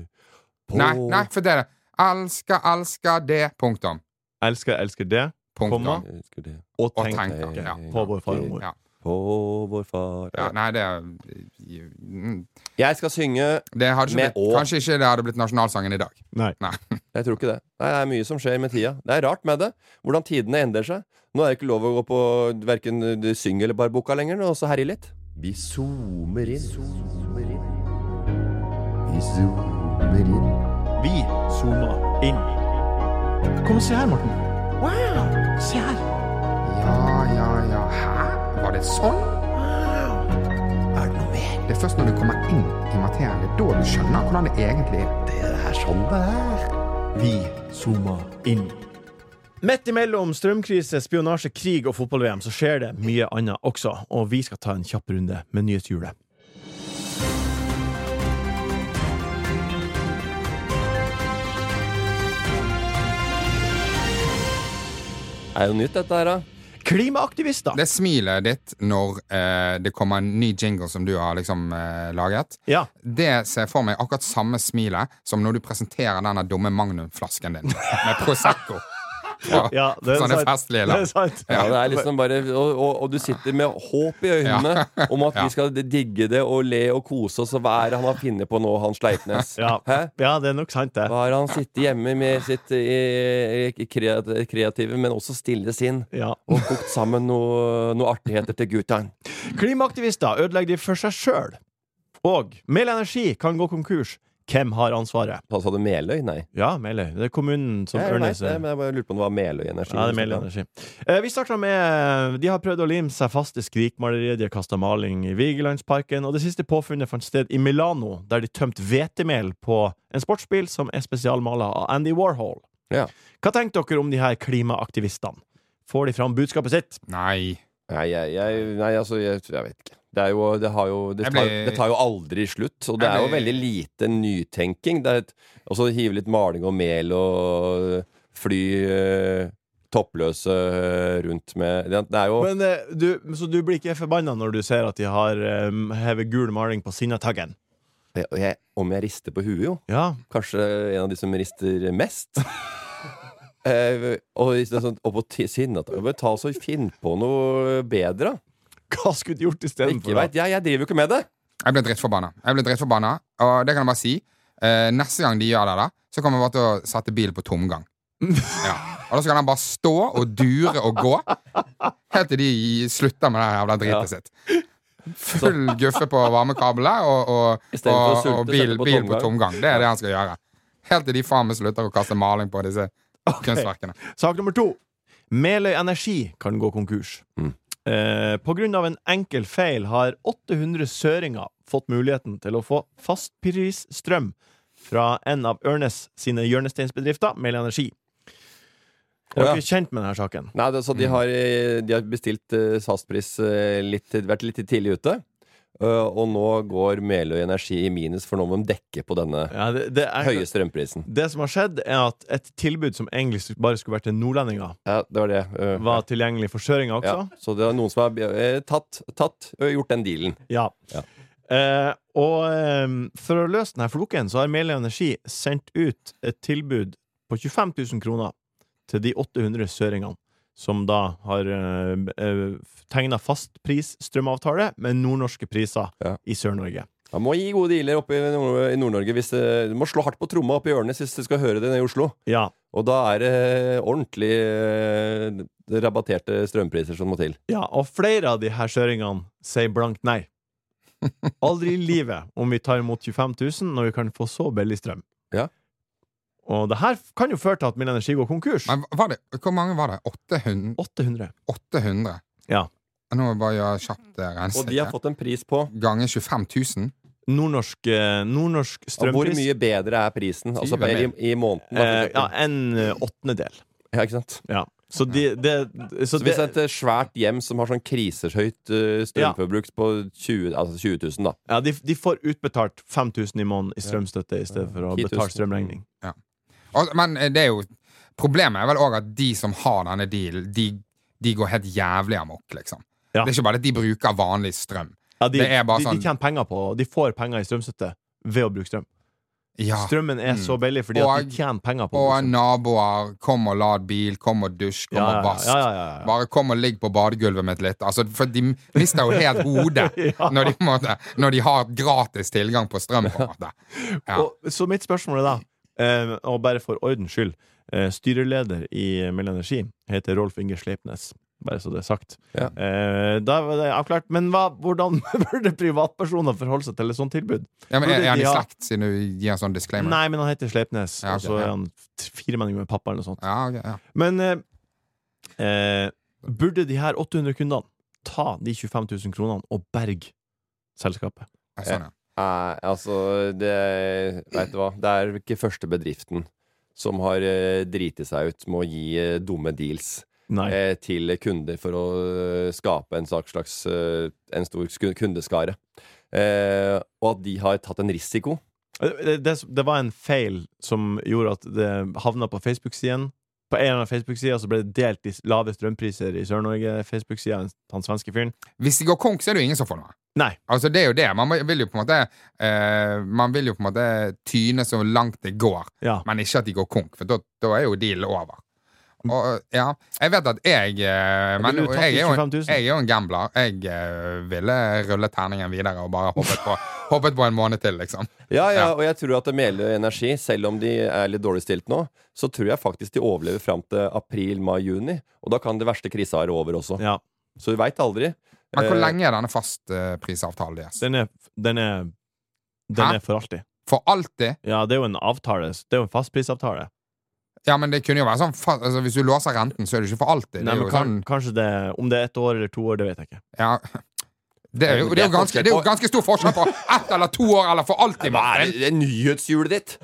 S3: på
S4: Nei, nei, for det er det. Elsker, elsker det. Punktum.
S2: Elsker, elsker det, Komma.
S4: Punktum.
S3: Jeg elsker det
S2: og
S4: Og
S2: tenk
S4: tenker. Ja.
S2: på vår far og mor.
S4: Ja.
S3: På vår far
S4: ja. Nei, det er- mm.
S3: Jeg skal synge
S4: det hadde ikke
S3: Med
S4: blitt,
S3: å.
S4: Kanskje ikke det hadde blitt nasjonalsangen i dag.
S2: Nei.
S4: Nei.
S3: Jeg tror ikke det. Nei, det er mye som skjer med tida. Det er rart med det. Hvordan tidene endrer seg. Nå er det ikke lov å gå på verken syng- eller barboka lenger, og så herje litt. Vi zoomer inn. Vi zoomer inn.
S2: Vi zooma inn. Kom og se her, Morten. Wow! Se her.
S4: Ja, ja, ja. Hæ? Var det sånn?
S3: Er det noe mer?
S4: Det er først når du kommer inn i materien, det er da du skjønner hvordan det egentlig er.
S3: Det er sånn det er.
S2: Vi zooma inn. Midt imellom strømkrise, spionasje, krig og fotball-VM så skjer det mye annet også, og vi skal ta en kjapp runde med nyhetshjulet.
S3: Er jo nytt, dette her, da.
S2: Klimaaktivister!
S4: Det smilet ditt når eh, det kommer en ny jingle som du har liksom eh, laget,
S2: Ja.
S4: det ser jeg for meg akkurat samme smilet som når du presenterer denne dumme magnumflasken din med Prosecco. Ja,
S2: [laughs] ja det er
S4: sånne
S2: sant.
S4: festlige
S2: Det
S4: lag.
S2: er sant.
S3: Ja, det er liksom bare Og, og, og du sitter med håp i øynene om [laughs] at
S4: Ja.
S3: vi skal digge det og le og kose oss, og hva er det han har funnet på nå, han Sleipnes?
S2: Ja.
S3: Hæ?
S2: ja, det er nok sant, det.
S3: Hva har han sittet hjemme med sitt eh, eh, kreat- kreative, men også stille sinn?
S2: Ja.
S3: Og kokt sammen noe, noe artigheter til guttene.
S2: Klimaaktivister ødelegger de for seg sjøl. Og Mel Energi kan gå konkurs. Hvem har ansvaret?
S3: Hva Sa du Meløy? Nei.
S2: Ja, Meløy. Det er kommunen som
S3: Jeg vet
S2: Ørnes
S3: det, men jeg bare lurte på om det var Meløy Energi.
S2: Ja, det er Meløy Energi. Eh, vi starter med eh, De har prøvd å lime seg fast i skrikmaleriet, de har kasta maling i Vigelandsparken, og det siste påfunnet fant sted i Milano, der de tømte hvetemel på en sportsbil som er spesialmala av Andy Warhol.
S3: Ja.
S2: Hva tenker dere om de her klimaaktivistene? Får de fram budskapet sitt?
S4: Nei.
S3: Nei, jeg, jeg, nei altså, jeg, jeg vet ikke. Det, er jo, det, har jo, det,
S4: Jeg
S3: tar,
S4: ble-
S3: det tar jo aldri slutt, og det
S4: Jeg
S3: er jo
S4: ble-
S3: veldig lite nytenking. Det er et, og så hive litt maling og mel og fly eh, toppløse eh, rundt med Det det er jo
S2: Men, eh, du, så du blir ikke forbanna når du ser at de har um, hevet gul maling på Sinnataggen?
S3: jeg, jeg, Om jeg rister på huet, jo.
S2: Ja.
S3: Kanskje en av de som rister mest.
S4: [laughs]
S3: Eh, og, i stedet sånn, og på ti- sinnet Men Ta oss og Finn på noe bedre. da.
S2: Hva skulle du gjort
S3: Ikke
S2: istedenfor?
S3: veit jeg. Jeg driver jo ikke med det.
S4: Jeg ble drittforbanna. Jeg ble drittforbanna, og det kan jeg bare si. Eh, neste gang de gjør det, da, så kommer jeg bare til å sette bilen på
S3: [laughs]
S4: tomgang. Ja. Og da skal den bare stå og dure og gå helt til de slutter med det jævla dritet sitt. Full guffe på varmekablene og, og,
S3: I
S4: og,
S3: stedet for å sulte,
S4: og bil,
S3: sette på
S4: bil på
S3: tomgang.
S4: tomgang. Det er det han skal gjøre. Helt til de faen meg slutter å kaste maling på disse kunstverkene.
S2: Sak nummer to. Meløy Energi kan gå konkurs.
S3: Mm.
S2: Eh, på grunn av en enkel feil har 800 søringer fått muligheten til å få fastprisstrøm fra en av Ørnes sine hjørnesteinsbedrifter, Mel Energi. Er
S3: Å, ja.
S2: dere kjent med denne saken?
S3: Nei, det, så de har, eh, de har bestilt eh, fastpris eh, litt, vært litt tidlig ute. Eh, og nå går Meløy Energi i minus, for nå må de dekke på denne
S2: Ja, det, det,
S3: høye
S2: er,
S3: strømprisen.
S2: det som har skjedd, er at et tilbud som egentlig bare skulle vært til nordlendinger,
S3: Ja, det var det. eh,
S2: var tilgjengelig for søringer
S3: ja.
S2: også.
S3: Så det er noen som har eh, tatt, tatt og gjort den dealen.
S2: Ja.
S3: Ja.
S2: Eh, og ehm, for å løse denne floken, så har Meløy Energi sendt ut et tilbud på 25 000 kroner til de 800 søringene som da har eh, eh, tegna fastprisstrømavtale med nordnorske priser
S3: Ja.
S2: i Sør-Nord-Norge.
S3: Man må gi gode dealer oppe i Nord- i Nord-Norge. hvis det- Du må slå hardt på tromma oppe i ørene hvis du skal høre det nede i Oslo.
S2: Ja.
S3: Og da er det ordentlig eh, rabatterte strømpriser som må til.
S2: ja. Og flere av de her søringene sier blankt
S3: [laughs]
S2: nei. Aldri i livet om vi tar imot 25 000 når vi kan få så billig strøm.
S3: Ja.
S2: Og det her kan jo føre til at Mild Energi går konkurs.
S4: Men var det, hvor mange var det? 800?
S2: 800.
S4: 800.
S2: Ja.
S4: Nå må jeg bare gjøre kjapt eh,
S3: Og de har
S4: regnestykke.
S3: fått en pris på
S4: Ganger 25 000.
S2: Nordnorsk, eh, nordnorsk
S3: Og Hvor
S2: strømpris
S3: mye bedre er prisen altså,
S4: Tyve
S3: i, i måneden? Da,
S2: eh,
S3: for
S2: Ja,
S3: eksempel.
S2: en eh, åttendedel.
S3: [laughs] ja, ikke sant?
S2: Ja. Så de, det så
S3: Så hvis
S2: det,
S3: et eh, svært hjem som har sånn krisehøyt eh, strømforbruk på 20, altså 20 000, da
S2: ja, de, de får utbetalt 5000 i måneden i strømstøtte i stedet for å
S3: 10 000.
S2: betale strømregning.
S4: Og, men eh, det er jo Problemet er vel òg at de som har denne dealen, de, de går helt jævlig amok, liksom.
S2: Ja.
S4: Det er ikke bare at de bruker vanlig strøm.
S2: Ja, de,
S4: Det er bare
S2: de,
S4: sånn-
S2: de tjener penger på De får penger i strømstøtte ved å bruke strøm.
S4: Ja.
S2: Strømmen er
S3: Mm.
S2: så billig fordi at
S4: Og-
S2: de tjener penger på å
S4: Og
S2: bruke strøm.
S4: naboer. Kom og lad bil. Kom og dusj. Kom
S2: liksom. Ja,
S4: og
S2: ja,
S4: vask.
S2: ja, ja, ja, ja.
S4: Bare kom og ligg på badegulvet mitt litt. Altså, for de mister jo helt hodet
S2: [laughs] Ja.
S4: når, de, på en måte, når de har gratis tilgang på strøm. På en
S2: [laughs]
S4: måte. Ja.
S2: Og, så mitt spørsmål er da, eh, og bare for ordens skyld eh, Styreleder i Mild Energi heter Rolf Inge Sleipnes. Bare så det er sagt.
S3: Ja.
S2: Eh, da var det avklart. Men hva, hvordan [laughs] burde privatpersoner forholde seg til et sånt tilbud?
S4: Ja, men er, er han i
S2: Ja.
S4: slekt, siden du gir en sånn disclaimer?
S2: Nei, men han heter Sleipnes,
S4: Ja, ok,
S2: og så er
S4: ja.
S2: han t- firemenning med pappa eller noe sånt.
S4: Ja, ok, ja.
S2: Men eh, eh, burde de her 800 kundene ta de 25 000 kronene og berge selskapet?
S4: Ja, Sånn, ja.
S3: Nei, altså det, Vet du hva? Det er ikke første bedriften som har eh, driti seg ut med å gi eh, dumme deals
S2: Nei.
S3: eh, til kunder for å eh, skape en slags, slags eh, en stor sku- kundeskare. Eh, og at de har tatt en risiko.
S2: Eh, Det, det, det var en feil som gjorde at det havna på Facebook-siden. På en av Facebook-sida så ble det delt i s- lave strømpriser i Sør-Norge. Facebook-sida han svenske fyren.
S4: Hvis de går konk, så er det jo ingen som får noe.
S2: Nei.
S4: Altså, det er jo det. Man må- vil jo på en måte eh, Man vil jo på en måte tyne så langt det går,
S2: Ja.
S4: men ikke at de går konk, for da, da er jo dealen over. Og, ja, jeg vet at jeg eh, Men
S2: ville du tatt
S4: jeg
S2: de
S4: er, jo en,
S2: 25 000?
S4: jeg er jo en gambler. Jeg eh, ville rulle terningen videre og bare hoppet
S2: [laughs]
S4: på, hoppet på en måned til, liksom.
S3: Ja, ja,
S4: Ja.
S3: og jeg tror at Meløy Energi, selv om de er litt dårlig stilt nå, så tror jeg faktisk de overlever fram til april, mai, juni. Og da kan det verste krisa være over også.
S2: ja.
S3: Så du veit aldri.
S4: Men hvor
S3: Eh,
S4: lenge er denne fastprisavtalen deres?
S2: Den er, den er,
S4: Hæ?
S2: den er for alltid.
S4: For alltid?
S2: Ja, det er jo en avtale. Det er jo en fastprisavtale.
S4: Ja, men det kunne jo være sånn fa- altså, Hvis du låser renten, så er det ikke for alltid.
S2: Nei,
S4: det er
S2: men
S4: jo
S2: kan,
S4: sånn
S2: kanskje det Om det er ett år eller to år, det vet jeg ikke.
S4: ja, det, er jo, det, er jo ganske, det er jo ganske stor forskjell på ett eller to år eller for alltid,
S3: Hva er
S4: Martin!
S3: det, det er nyhetshjulet ditt?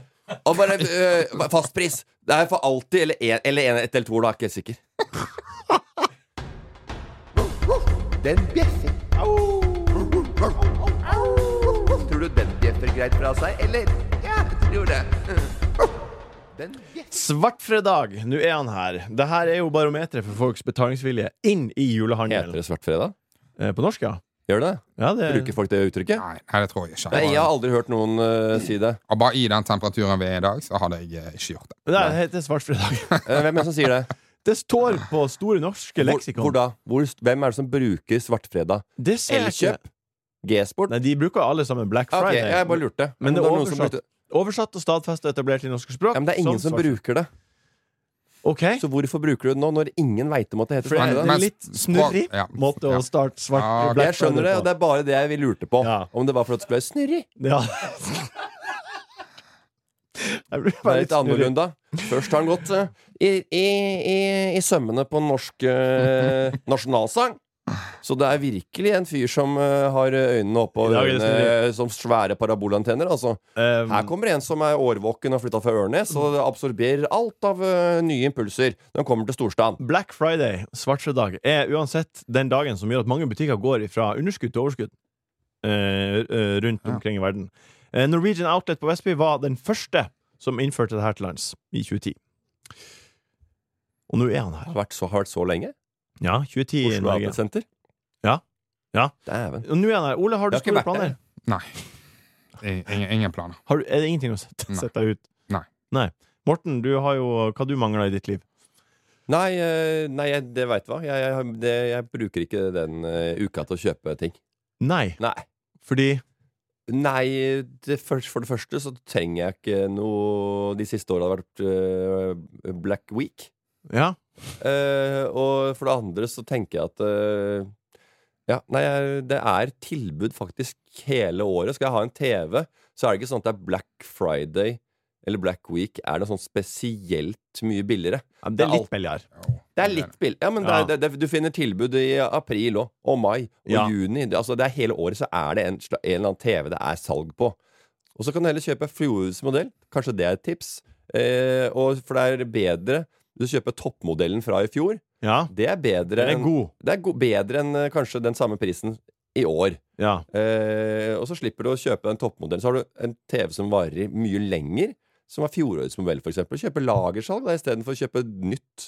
S3: Og bare øh, fastpris. Det er for alltid, eller, en, eller en, et eller to år, da. Ikke helt sikker. Den bjeffer. [laughs] Tror du den bjeffer greit fra seg, eller? Ja, jeg tror det. Den bjeffer.
S2: Svartfredag! Nå er han her. Det her er jo barometeret for folks betalingsvilje inn i
S3: Heter
S2: julehandelen.
S3: det svartfredag?
S2: Eh, På norsk, ja.
S3: Gjør det det?
S2: ja det,
S3: Bruker folk det uttrykket?
S4: Nei, nei, det tror jeg ikke.
S3: Nei, jeg har aldri hørt noen øh, si det.
S4: Og bare i den temperaturen vi er i dag, så hadde jeg eh, ikke gjort det.
S2: det heter svartfredag. [laughs]
S3: Eh, Hvem er det som sier det?
S2: Det står på Store norske
S3: Hvor,
S2: leksikon.
S3: hvor da? Hvor, hvem er det som bruker svartfredag?
S2: Det ser jeg ikke.
S3: Elkjøp? G-sport?
S2: Nei, de bruker alle sammen Black
S3: Ja, ok,
S2: Friday.
S3: jeg bare lurte.
S2: Men det er
S3: var noen som
S2: oversatt.
S3: brukte-
S2: Oversatt og stadfestet etablert i norske språk.
S3: Ja, men det er ingen
S2: Sånn
S3: som
S2: svart-
S3: bruker det.
S2: Ok,
S3: Så hvorfor bruker du det nå, når ingen veit om at det heter
S2: for det
S3: svartfredag?
S2: er
S4: Men-
S2: en litt snurrig
S4: Ja.
S2: måte å
S4: Ja.
S2: starte svart
S4: Ja,
S2: Black
S3: Jeg skjønner det,
S2: Friday
S3: og det er bare det jeg lurte på.
S2: Ja.
S3: Om det var for at det skulle være snurrig.
S2: på. Ja. [laughs] Jeg blir
S3: Det
S2: bare
S3: er
S2: litt
S3: litt
S2: snurrig.
S3: annerledes. Først har han gått eh, i, i, i, i sømmene på en norsk eh, nasjonalsang. Så det er virkelig en fyr som eh, har øynene oppe
S2: I
S3: og
S2: dag er det
S3: ørene som svære parabolantenner. Altså.
S2: Um,
S3: Her kommer en som er årvåken og flytta fra Ørnes og
S2: Mm.
S3: absorberer alt av eh, nye impulser når han kommer til storstaden.
S2: Black Friday, svartsedag, er uansett den dagen som gjør at mange butikker går fra underskudd til overskudd eh, eh, rundt
S4: Ja.
S2: omkring i verden. Eh, Norwegian Outlet på Vestby var den første som innførte det her til lands i 2010. Og nå er han her.
S3: Har vært så, har vært så lenge.
S2: Ja, 2010 i
S3: Oslo
S2: Norge.
S3: Outlet Center.
S2: Ja. Ja.
S3: Dæven.
S2: Og nå er han her. Ole, har du
S3: Jeg har ikke
S2: store
S3: vært
S2: planer?
S4: Nei. I- Ingen, ingen planer.
S2: Har du, er det ingenting å sette,
S4: Nei.
S2: sette deg ut?
S4: Nei.
S2: Morten, du har jo hva du mangler i ditt liv.
S3: Nei, eh, nei jeg, det veit du hva. Jeg, jeg, det, jeg bruker ikke den eh, uka til å kjøpe ting.
S2: Nei,
S3: Nei.
S2: fordi
S3: Nei, det først, for det første så trenger jeg ikke noe De siste åra har det vært eh, Black Week.
S2: Ja.
S3: Eh, og for det andre så tenker jeg at eh, Ja, nei, jeg, det er tilbud faktisk hele året. Skal jeg ha en TV, så er det ikke sånn at det er Black Friday eller Black Week er det sånn spesielt mye billigere.
S2: Det er litt
S3: alt-
S2: billigere.
S4: Jo.
S3: Det er litt billig. Ja, men det er, det, det, du finner tilbud i april òg, og mai og
S2: Ja.
S3: juni. Det, altså, det er hele året så er det en, sla- en eller annen TV det er salg på. Og så kan du heller kjøpe fjorårets modell. Kanskje det er et tips. Eh, og for det er bedre Du kjøper toppmodellen fra i fjor.
S2: Ja.
S3: Det er bedre
S2: Den er
S3: enn-
S2: god.
S3: det er go bedre enn eh, kanskje den samme prisen i år.
S2: Ja.
S3: Eh, og så slipper du å kjøpe en toppmodell. Så har du en TV som varer i mye lenger, som er fjorårets modell, f.eks. Kjøpe lagersalg da, istedenfor å kjøpe nytt.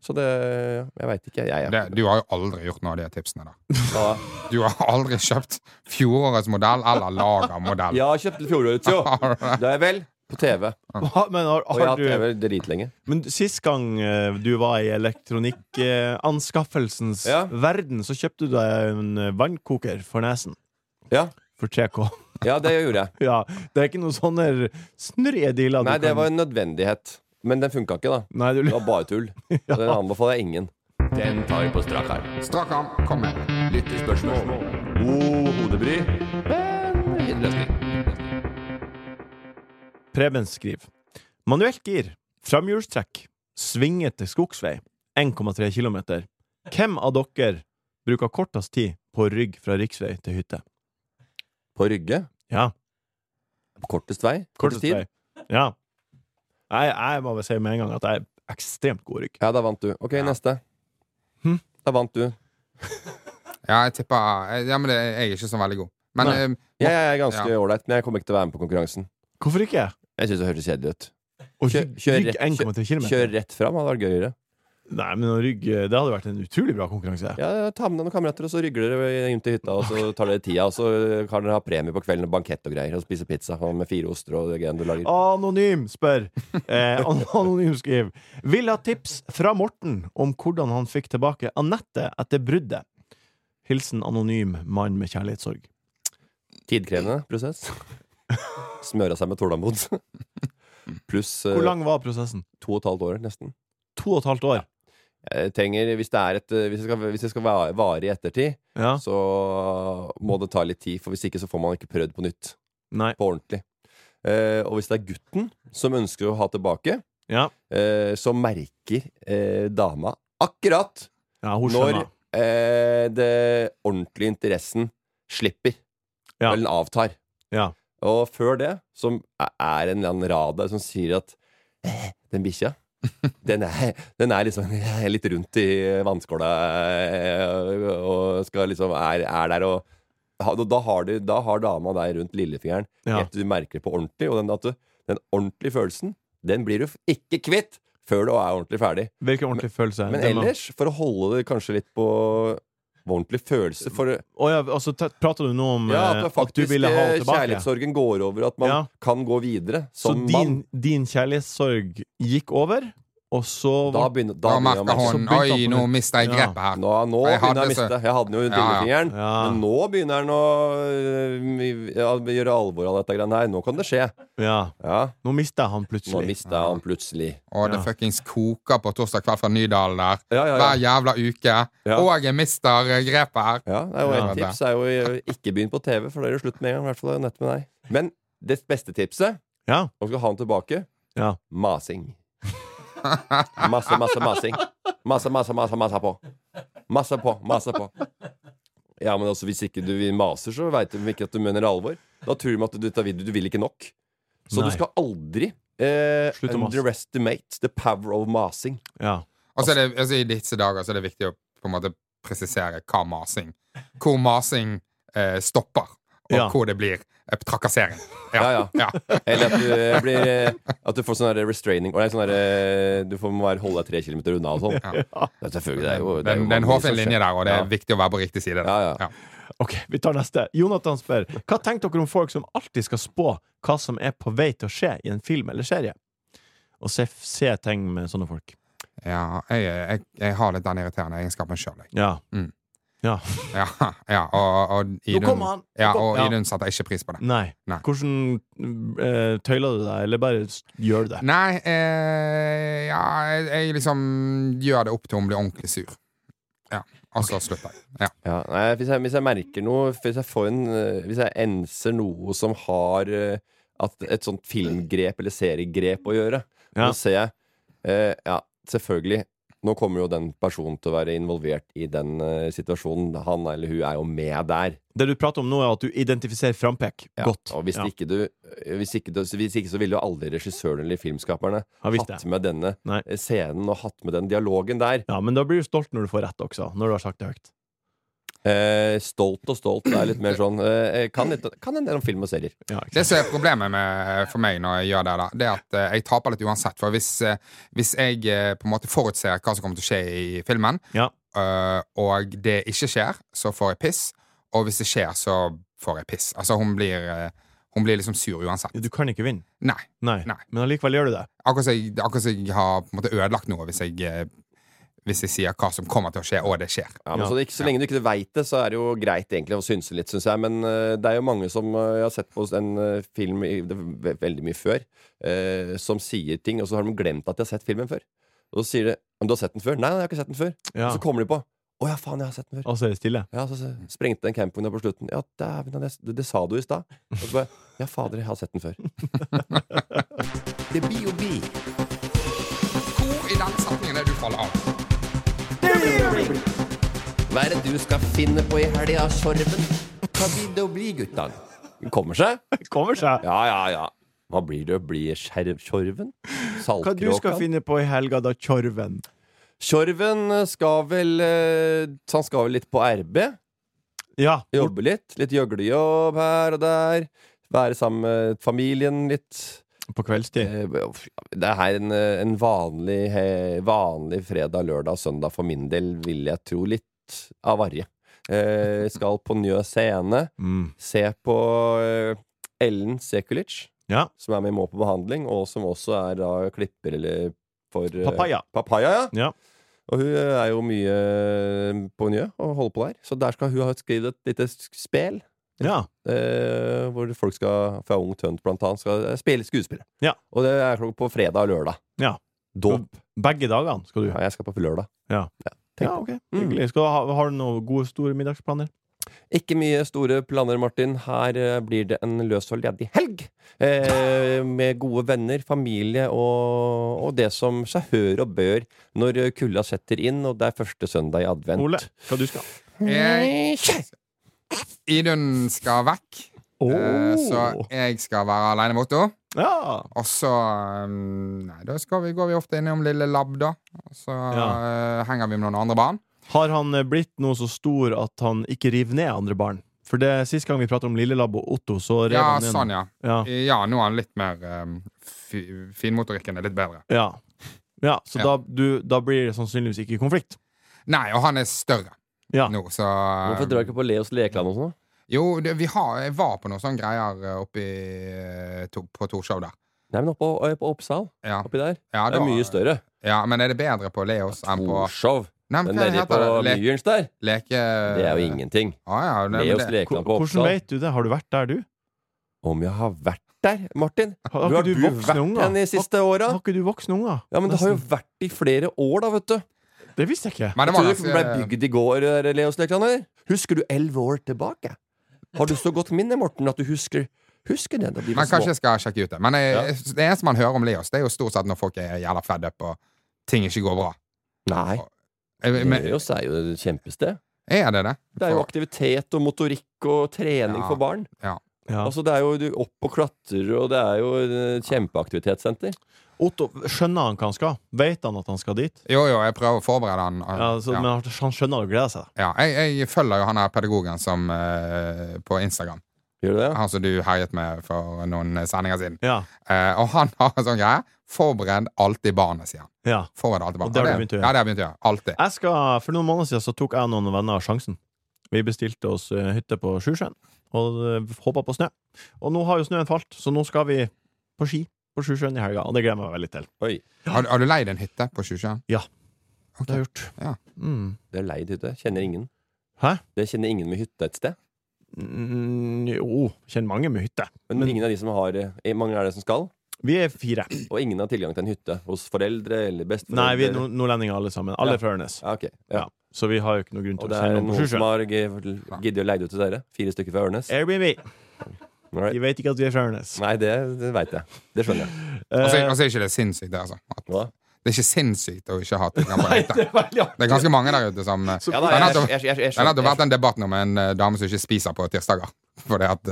S3: Så det Jeg veit ikke. Jeg, jeg,
S4: Det, du har jo aldri gjort noe av de tipsene der.
S3: ja,
S4: Du har aldri kjøpt fjorårets modell eller lagermodell.
S3: jeg har kjøpt fjorårets,
S2: [laughs]
S3: jo! Det er vel på TV.
S2: Ha, men har,
S3: Og jeg har
S2: har
S3: hatt
S2: du
S3: TV dritlenge.
S2: Men sist gang eh, du var i elektronikkanskaffelsens
S3: Ja.
S2: verden, så kjøpte du deg en eh, vannkoker for nesen.
S3: Ja.
S2: For 3K.
S3: ja, det gjorde jeg.
S2: [laughs] ja, det er ikke noen sånne snurrige dealer. du
S3: Nei, det
S2: kan-
S3: var en nødvendighet. Men den funka ikke, da.
S2: Nei, du
S3: Det var bare
S2: [laughs]
S3: tull. Og Den anbefaler jeg ingen. Den tar vi på strak arm.
S4: Strak arm, kom med.
S3: Lyttespørsmål. God hodebry, men fin løsning.
S2: Preben skriver. Manuelt gir. Framhjulstrekk. Svingete skogsvei. 1,3 km. Hvem av dere bruker kortest tid på rygg fra riksvei til hytte?
S3: På Rygge?
S2: Ja.
S3: På kortest vei? Kortest tid?
S2: vei. Ja. Jeg, jeg må bare si med en gang at jeg er ekstremt god rygg.
S3: Ja, da vant du. Ok, neste.
S2: Hm?
S3: Da vant du.
S4: Ja, jeg tipper Ja, men det, jeg er ikke så veldig god. Men
S2: Nei.
S4: eh,
S3: Jeg er ganske
S4: Ja.
S3: ålreit, men jeg kommer ikke til å være med på konkurransen.
S2: Hvorfor ikke?
S3: Jeg syns det høres kjedelig ut.
S2: Å
S3: Kjør-
S2: rygg-
S3: kjør
S2: rygg
S3: rett-
S2: 1,3 km?
S3: Kjør rett fram hadde vært gøyere.
S2: Nei, men å rygge Det hadde vært en utrolig bra konkurranse.
S3: Ja, Ta med deg noen kamerater, og så rygler dere inn til hytta, og så tar dere tida, og så kan dere ha premie på kvelden og bankett og greier, og spise pizza og med fire oster og det greiene du lager.
S2: Anonym spør. Eh, [laughs] an- anonym skriver. Vil ha tips fra Morten om hvordan han fikk tilbake Anette etter bruddet. Hilsen anonym mann med kjærlighetssorg.
S3: Tidkrevende
S2: [laughs]
S3: prosess. Smøra seg med tålmod. Pluss eh,
S2: Hvor lang var prosessen?
S3: to og et halvt år, nesten.
S2: To og et halvt år.
S3: Jeg trenger, hvis det, er et, eh, hvis det skal, hvis det skal va- vare i ettertid,
S2: Ja.
S3: så må det ta litt tid, for hvis ikke så får man ikke prøvd på nytt.
S2: Nei.
S3: På ordentlig. Eh, og hvis det er gutten som ønsker å ha tilbake,
S2: Ja.
S3: eh, så merker eh, dama akkurat
S2: ja hun
S3: når
S2: skjønner.
S3: eh, det ordentlige interessen slipper.
S2: Ja.
S3: Eller den avtar.
S2: Ja.
S3: Og før det så er en eller annen radar som sier at eh, den
S2: [laughs]
S3: bikkja den er, den er liksom litt rundt i vannskåla eh, og skal liksom er, er der og ha- da har, du, da har dama deg rundt lillefingeren
S2: Ja.
S3: helt til du merker det på ordentlig. Og den, at du, den ordentlige følelsen, den blir du f- ikke kvitt før du er ordentlig ferdig.
S2: Hvilken ordentlig følelse?
S3: Men
S2: Det må-
S3: ellers, for å holde det kanskje litt på ordentlig følelse for,
S2: Å ja, altså, te- prater du nå om
S3: Ja,
S2: eh,
S3: at det
S2: at du
S3: faktisk
S2: ville ha
S3: eh,
S2: henne tilbake?
S3: kjærlighetssorgen går over, at man
S2: Ja.
S3: kan gå videre
S2: Så
S3: som mann.
S2: din, din kjærlighetssorg gikk over, og så
S3: Da begynner, da
S4: da
S3: begynner
S4: merker
S3: man
S2: så
S4: hun
S2: begynte han
S4: Oi,
S2: på
S4: nå
S2: nytt.
S4: mista jeg
S2: Ja.
S4: grepet her.
S3: Nå, nå
S4: Jeg hadde
S3: begynner
S4: så-
S3: jeg å miste. Jeg hadde den jo i
S4: Ja, ja.
S3: lillefingeren.
S2: Ja.
S3: Men nå begynner den å øh, ja, gjøre alvor av dette greiene her. Nå kan det skje.
S2: Ja,
S3: Ja,
S2: nå mista jeg han
S3: nå
S2: plutselig.
S3: mista jeg han plutselig.
S4: Og det
S2: Ja.
S4: fuckings koker på torsdag kveld fra Nydalen der.
S3: Ja, ja,
S4: Hver
S3: ja.
S4: jævla uke.
S3: Ja.
S4: Og jeg mister eh, grepet her.
S3: Ja, det er jo
S2: Ja,
S3: Et
S4: det er
S3: tips er jo eh, ikke begynn på TV, for da er det slutt med en gang. I hvert fall nett med deg. Men det beste tipset,
S2: Ja.
S3: om du skal ha den tilbake,
S2: Ja.
S3: masing. Masse, masse masing. Masse, masse, masse, masse på. Masse på, masse på. Ja, men altså, hvis ikke du maser, så veit de ikke at du mener alvor. Da tror de at du, tar vid- du vil ikke nok. Så
S2: Nei.
S3: du skal aldri eh,
S2: Slutt å mase.
S3: underestimate the power of masing.
S2: Ja.
S4: Og så er det, altså, I disse dager så er det viktig å på en måte presisere hva masing Hvor masing eh, stopper, og
S2: Ja.
S4: hvor det blir eh, trakassering. [laughs]
S3: Ja, ja. Eller at du, eh, blir, eh, at du får sånn her restraining Eller sånn her, eh, Du får må være, holde deg tre kilometer unna og sånn. Det er selvfølgelig det er jo, det er
S4: Den,
S3: jo
S4: den
S3: mange
S4: hårfin
S3: som
S4: linje
S3: skjer.
S4: der, og det er
S3: Ja.
S4: viktig å være på riktig side. der.
S3: Ja, ja.
S2: Ok, vi tar neste. Jonathan spør Hva tenker dere om folk som alltid skal spå hva som er på vei til å skje i en film eller serie? Og se, se ting med sånne folk.
S4: Ja, jeg, jeg, jeg har litt den irriterende egenskapen sjøl, jeg.
S2: Ja.
S4: Mm.
S2: ja.
S4: Ja, [laughs] ja, og, og Idun,
S2: kommer han! Nå
S4: Ja,
S2: kom-
S4: og
S2: Ja.
S4: Idun setter ikke pris på det.
S2: Nei.
S4: Nei.
S2: Hvordan eh, tøyler du deg, eller bare s- gjør du det?
S4: Nei, eh, ja, jeg, jeg liksom gjør det opp til hun blir ordentlig sur. Ja, Og så slutter jeg. Ja.
S3: Ja, nei, hvis, jeg, hvis jeg merker noe Hvis jeg, får en, eh, hvis jeg enser noe som har eh, at, et sånt filmgrep eller seriegrep å gjøre,
S2: Ja.
S3: så ser jeg eh, Ja, selvfølgelig. Nå kommer jo den personen til å være involvert i den eh, situasjonen. Han eller hun er jo med der.
S2: Det du prater om nå, er at du identifiserer frampek.
S3: Ja.
S2: Godt.
S3: Og hvis,
S2: Ja.
S3: ikke du, eh, hvis, ikke du, hvis ikke så ville jo aldri regissøren eller filmskaperne
S2: Har visst
S3: hatt
S2: det.
S3: med denne
S2: Nei.
S3: eh, scenen og hatt med den dialogen der.
S2: Ja, men da blir du stolt når du får rett også, når du har sagt det høyt.
S3: Eh, stolt og stolt det er litt mer sånn eh, kan, litt, kan en del om film og serier.
S2: Ja, ikke
S4: Det
S2: sant?
S4: som er problemet med, for meg når jeg gjør det, da, det er at eh, jeg taper litt uansett. For hvis, eh, hvis jeg eh, på en måte forutser hva som kommer til å skje i filmen,
S2: Ja.
S4: eh, og det ikke skjer, så får jeg piss. Og hvis det skjer, så får jeg piss. Altså, hun blir, eh, hun blir liksom sur uansett.
S2: Du kan ikke vinne.
S4: Nei.
S2: Nei.
S4: Nei.
S2: Men allikevel gjør du det.
S4: Akkurat som jeg, akkurat som jeg har på en måte ødelagt noe hvis jeg, eh, hvis jeg sier hva som kommer til å skje, og det skjer.
S3: Ja, men
S2: Ja.
S3: så, det, ikke, så lenge du ikke veit det, så er det jo greit egentlig å synse litt, syns jeg. Men eh, det er jo mange som eh, jeg har sett på en eh, film i, det, er ve- veldig mye før, eh, som sier ting, og så har de glemt at de har sett filmen før. Og så sier de Men du har sett den før? Nei, nei, jeg har ikke sett den før.
S2: Ja.
S3: Og så kommer de på Å ja, faen, jeg har sett den før.
S2: Og så er det stille.
S3: Ja, så, så sprengte den campingen på slutten. Ja, dæven, det, det, det sa du i stad. Og så bare Ja, fader, jeg har sett den før. det blir jo bi.
S4: Hvor i den setningen er du faller av?
S3: Hva er det du skal finne på i helga, Sorven? Hva blir det å bli, guttan? Den kommer seg.
S2: Det kommer seg.
S3: Ja, ja, ja. Hva blir det å bli? Skjervkjorven?
S2: Hva du skal
S3: Saltkråkan?
S2: finne på i helga, da, Tjorven?
S3: Tjorven skal vel eh, Han skal vel litt på RB.
S2: Ja.
S3: Jobbe litt. Litt gjøglejobb her og der. Være sammen med familien litt.
S2: På kveldstid.
S3: Eh, uff, Det er her en, eh, en vanlig, eh, vanlig fredag, lørdag, søndag for min del, vil jeg tro. Litt av varje. Eh, Skal på Njø scene.
S2: Mm.
S3: Se på eh, Ellen Sekulic.
S2: Ja.
S3: som er med i Må på behandling, og som også er da klipper eller for eh,
S2: Papaya.
S3: Papaya, ja.
S2: Ja.
S3: Og hun er jo mye eh, på Njø og holder på der. Så der skal hun ha skrevet et lite sk- spel.
S2: ja.
S3: Eh, hvor folk skal, fra Ung Tønt blant annet, skal eh, spille skuespill.
S2: Ja.
S3: Og det er klokka på fredag og lørdag.
S2: Ja.
S3: Dåp.
S2: Begge dagene skal du
S3: Ja, jeg skal på lørdag. tenk Mm.
S2: Ja, ok. Hyggelig. Skal du ha, har du noen gode, store middagsplaner?
S3: Ikke mye store planer, Martin. Her eh, blir det en løs og ledig helg. Eh, med gode venner, familie og, og det som seg hør og bør når eh, kulda setter inn, og det er første søndag i advent.
S2: Ole, hva du skal?
S4: Jeg... Idun skal vekk. Eh, Så
S2: Åh.
S4: jeg skal være aleine borte. også.
S2: Ja.
S4: Og så um, Nei, da skal vi, går vi ofte innom Lille Lab, da. Og så eh, henger vi med noen andre barn.
S2: Har han eh, blitt noe så stor at han ikke river ned andre barn? For det sist gang vi pratet om Lillelab og Otto, så rev
S4: Ja,
S2: han ned
S4: sånn, ja.
S2: Ja.
S4: Ja, nå er han litt mer um, fi, Finmotorikken er litt bedre.
S2: ja. ja så
S4: Ja.
S2: Da, du, da blir det sannsynligvis ikke konflikt.
S4: Nei, og han er større
S2: Ja.
S4: nå, så eh,
S3: Hvorfor drar du ikke på Leos lekeland og sånn? da?
S4: Jo, det, vi har, jeg var på noen sånne greier eh, oppe i, eh, to, på Torshov der.
S3: Nei, men oppå, på Oppsal.
S4: Ja,
S3: Oppi der.
S4: ja,
S3: Det
S4: da-
S3: er mye større.
S4: Ja, men er det bedre på Leos enn på
S3: Torshov.
S4: Nei, men
S3: Den
S4: hva
S3: nedi på
S4: heter det? Le,
S3: Myrens der,
S4: leke...
S3: det er jo ingenting.
S4: Ah, ja, nei, men
S3: Leos
S4: det-
S3: lekeland på
S2: Hvordan
S3: Oppsal.
S2: vet du det? Har du vært der, du?
S3: Om jeg har vært der, Martin?
S2: Har,
S3: Du
S2: har
S3: har
S2: ikke
S3: du
S2: du voksne
S3: vært
S2: unger?
S3: den de siste åra?
S2: Har, har ikke du voksne unger?
S3: Ja, men det har jo
S2: Nesten.
S3: vært i flere år, da, vet du.
S2: Det visste jeg ikke.
S4: Men det
S3: Tror
S4: var
S3: du
S4: ganske-
S3: det ble bygd i går, der, Leos Lekland? eller? Husker du elleve år tilbake? Har du så godt minne, Morten, at du husker Husker det da de var
S4: Men kanskje
S3: små?
S4: jeg skal sjekke ut det. Men jeg, det eneste man hører om Leos, det er jo stort sett når folk er jævla fed up og ting ikke går bra.
S3: Nei.
S4: Eh, Men,
S3: Nidaros er jo et kjempested.
S4: er det det?
S3: Det er jo aktivitet og motorikk og trening
S4: Ja.
S3: for barn.
S2: Ja.
S3: Altså Det er jo du opp og klatrer, og det er jo eh, et kjempeaktivitetssenter.
S2: Otto, skjønner han hva han skal? Vet han at han skal dit?
S4: Jo, jo, jeg prøver å forberede han. eh,
S2: Ja, så,
S4: ja.
S2: Men han- han skjønner og gleder seg.
S4: Ja, jeg, jeg følger jo han her pedagogen som, eh, på Instagram.
S3: Gjør du det?
S4: Han som du herjet med for noen sendinger siden.
S2: Ja,
S4: Eh, og han har en sånn greie. Forbered alltid barnet, sier han.
S2: ja.
S4: Forbered alltid barnet.
S2: Og det har du begynt å gjøre.
S4: Ja, det har jeg begynt å gjøre. Alltid.
S2: Jeg skal, for noen måneder siden så tok jeg og noen venner sjansen. Vi bestilte oss eh, hytte på Sjusjøen og hoppa på snø. Og nå har jo snøen falt, så nå skal vi på ski på Sjusjøen i helga, og det gleder jeg meg veldig til.
S3: Oi.
S4: Har, har du leid en hytte på Sjusjøen?
S2: Det har jeg gjort.
S4: Ja.
S2: Mm.
S3: Det er leid hytte. Kjenner ingen.
S2: Hæ?
S3: Det kjenner ingen med hytte et sted.
S2: Mm, jo, kjenner mange med hytte.
S3: Men,
S2: Men-
S3: ingen av de som har eh, Mange er det som skal.
S2: Vi er fire.
S3: Og ingen har tilgang til en hytte hos foreldre eller besteforeldre.
S2: Nei, vi er nord- nordlendinger alle sammen. Alle
S3: Ja.
S2: er fra Ørnes.
S3: Ja, ok. ja.
S2: Ja. Så vi har jo ikke noe grunn
S3: Og
S2: til
S3: det
S2: å
S3: er
S2: sende noen
S3: noen
S2: på Sjusjøen.
S3: som har g- giddet å leie det ut til dere. Fire stykker fra Ørnes.
S2: Airbnb.
S3: All right.
S2: De vet ikke at vi er fra Ørnes.
S3: Nei, det, det veit jeg. Det skjønner jeg.
S4: Og så
S2: Eh,
S4: og så er ikke det sinnssykt, det, altså. At,
S3: Hva?
S4: det er ikke sinnssykt å ikke ha tilgang på en hytte.
S2: det er veldig artig.
S4: Det er ganske mange der ute som eh,
S3: Ja,
S4: Det
S3: da,
S4: har
S3: jeg,
S4: nettopp-
S3: jeg, jeg, jeg, jeg,
S4: det har nettopp
S3: skjønner-
S4: vært en debatt nå med en eh, dame som ikke spiser på tirsdager. [laughs] Fordi at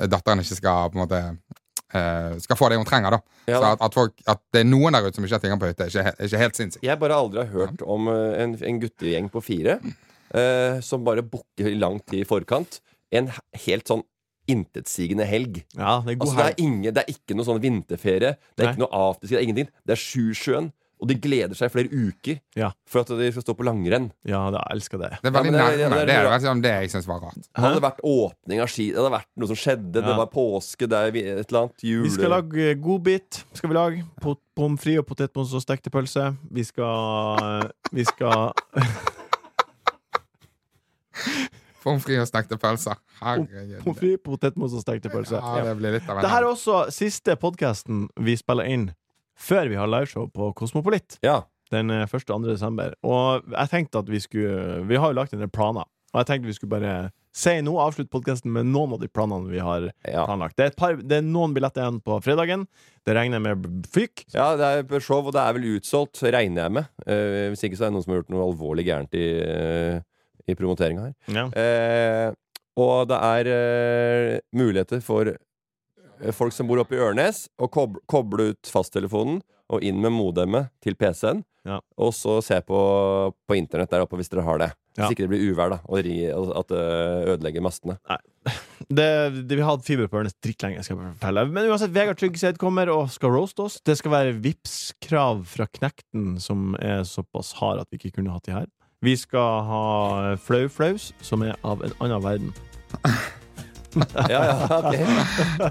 S4: eh, datteren ikke skal på en måte eh, Skal få det hun trenger, da.
S3: Ja,
S4: så
S3: da.
S4: at, at, folk, at det er noen der ute som ikke har tilgang på hytte, er ikke, he- er ikke helt sinnssykt.
S3: jeg bare aldri har hørt om eh, en, en guttegjeng på fire eh, som bare booker i lang tid i forkant. En he- helt sånn intetsigende helg.
S2: Ja, det er god
S3: Altså, det,
S2: helg.
S3: er ingen, det er ikke noe sånn vinterferie. Det er
S2: Nei.
S3: ikke noe afterski. Det er ingenting. Det er Sjusjøen. Og de gleder seg i flere uker
S2: Ja.
S3: for at de skal stå på langrenn.
S2: Ja, det- jeg elsker det.
S4: Det er
S3: Ja,
S4: veldig
S3: men det er- det er-
S4: nærme.
S3: det er-
S4: Det er veldig sånn det jeg syns var rart.
S3: Det hadde vært åpning av ski. Det hadde vært noe som skjedde. Det
S2: Ja.
S3: var påske, det er vi- et eller annet. Jule.
S2: Vi skal lage eh, godbit. Skal vi lage Pot- Pommes frites og potetmos og stekte pølse. Vi skal eh, Vi skal
S4: Pommes frites og stekte pølser. Herregud.
S2: Pommes frites, potetmos og stekte pølse.
S4: Ja, det blir litt av en
S2: Dette er også siste podkasten vi spiller inn før vi har liveshow på Kosmopolit.
S3: Ja.
S2: Den eh, 1. og 2. desember. Og jeg tenkte at vi skulle Vi har jo lagt en del planer. Og jeg tenkte vi skulle bare si nå, avslutte podkasten med noen av de planene vi har
S3: Ja.
S2: planlagt. Det er, et par, det er noen billetter igjen på fredagen. Det regner jeg med b- fyk.
S3: ja, det er på show, og det er vel utsolgt, regner jeg med. Eh, hvis ikke så er det noen som har gjort noe alvorlig gærent i, uh, i promoteringa her.
S2: Ja.
S3: Eh, og det er eh, muligheter for eh, folk som bor oppe i Ørnes, å kob koble ut fasttelefonen og inn med modemet til PC-en.
S2: Ja.
S3: Og så se på, på internett der oppe hvis dere har det.
S2: Ja.
S3: Hvis ikke det blir uvær, da, og ri, og at det ødelegger
S2: [laughs]
S3: mastene.
S2: det, det, vi hadde fiber på Ørnes drittlenge, skal jeg fortelle. Men uansett, Vegard Tryggseid kommer og skal roaste oss. Det skal være Vipps-krav fra Knekten som er såpass hard at vi ikke kunne hatt de her. Vi skal ha Flau Flaus, som er av en annen verden.
S3: Ja, ja, ok.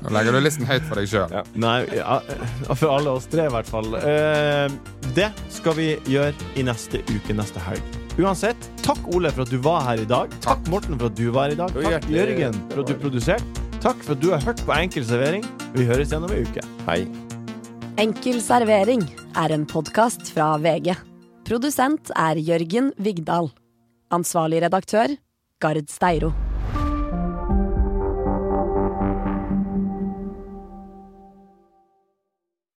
S4: Nå legger du listen høyt for deg sjøl.
S3: Ja.
S2: Nei, ja, eh, for alle oss tre, i hvert fall. Eh, det skal vi gjøre i neste uke, neste helg. Uansett, takk Ole for at du var her i dag. Takk Morten for at du var her i dag.
S3: Jo,
S2: Takk
S3: hjertelig-
S2: Jørgen for at du produserte. Takk for at du har hørt på Enkel servering. Vi høres gjennom ei uke.
S3: Hei.
S1: Enkel servering er en podkast fra VG. Produsent er Jørgen Vigdal. Ansvarlig redaktør, Gard Steiro.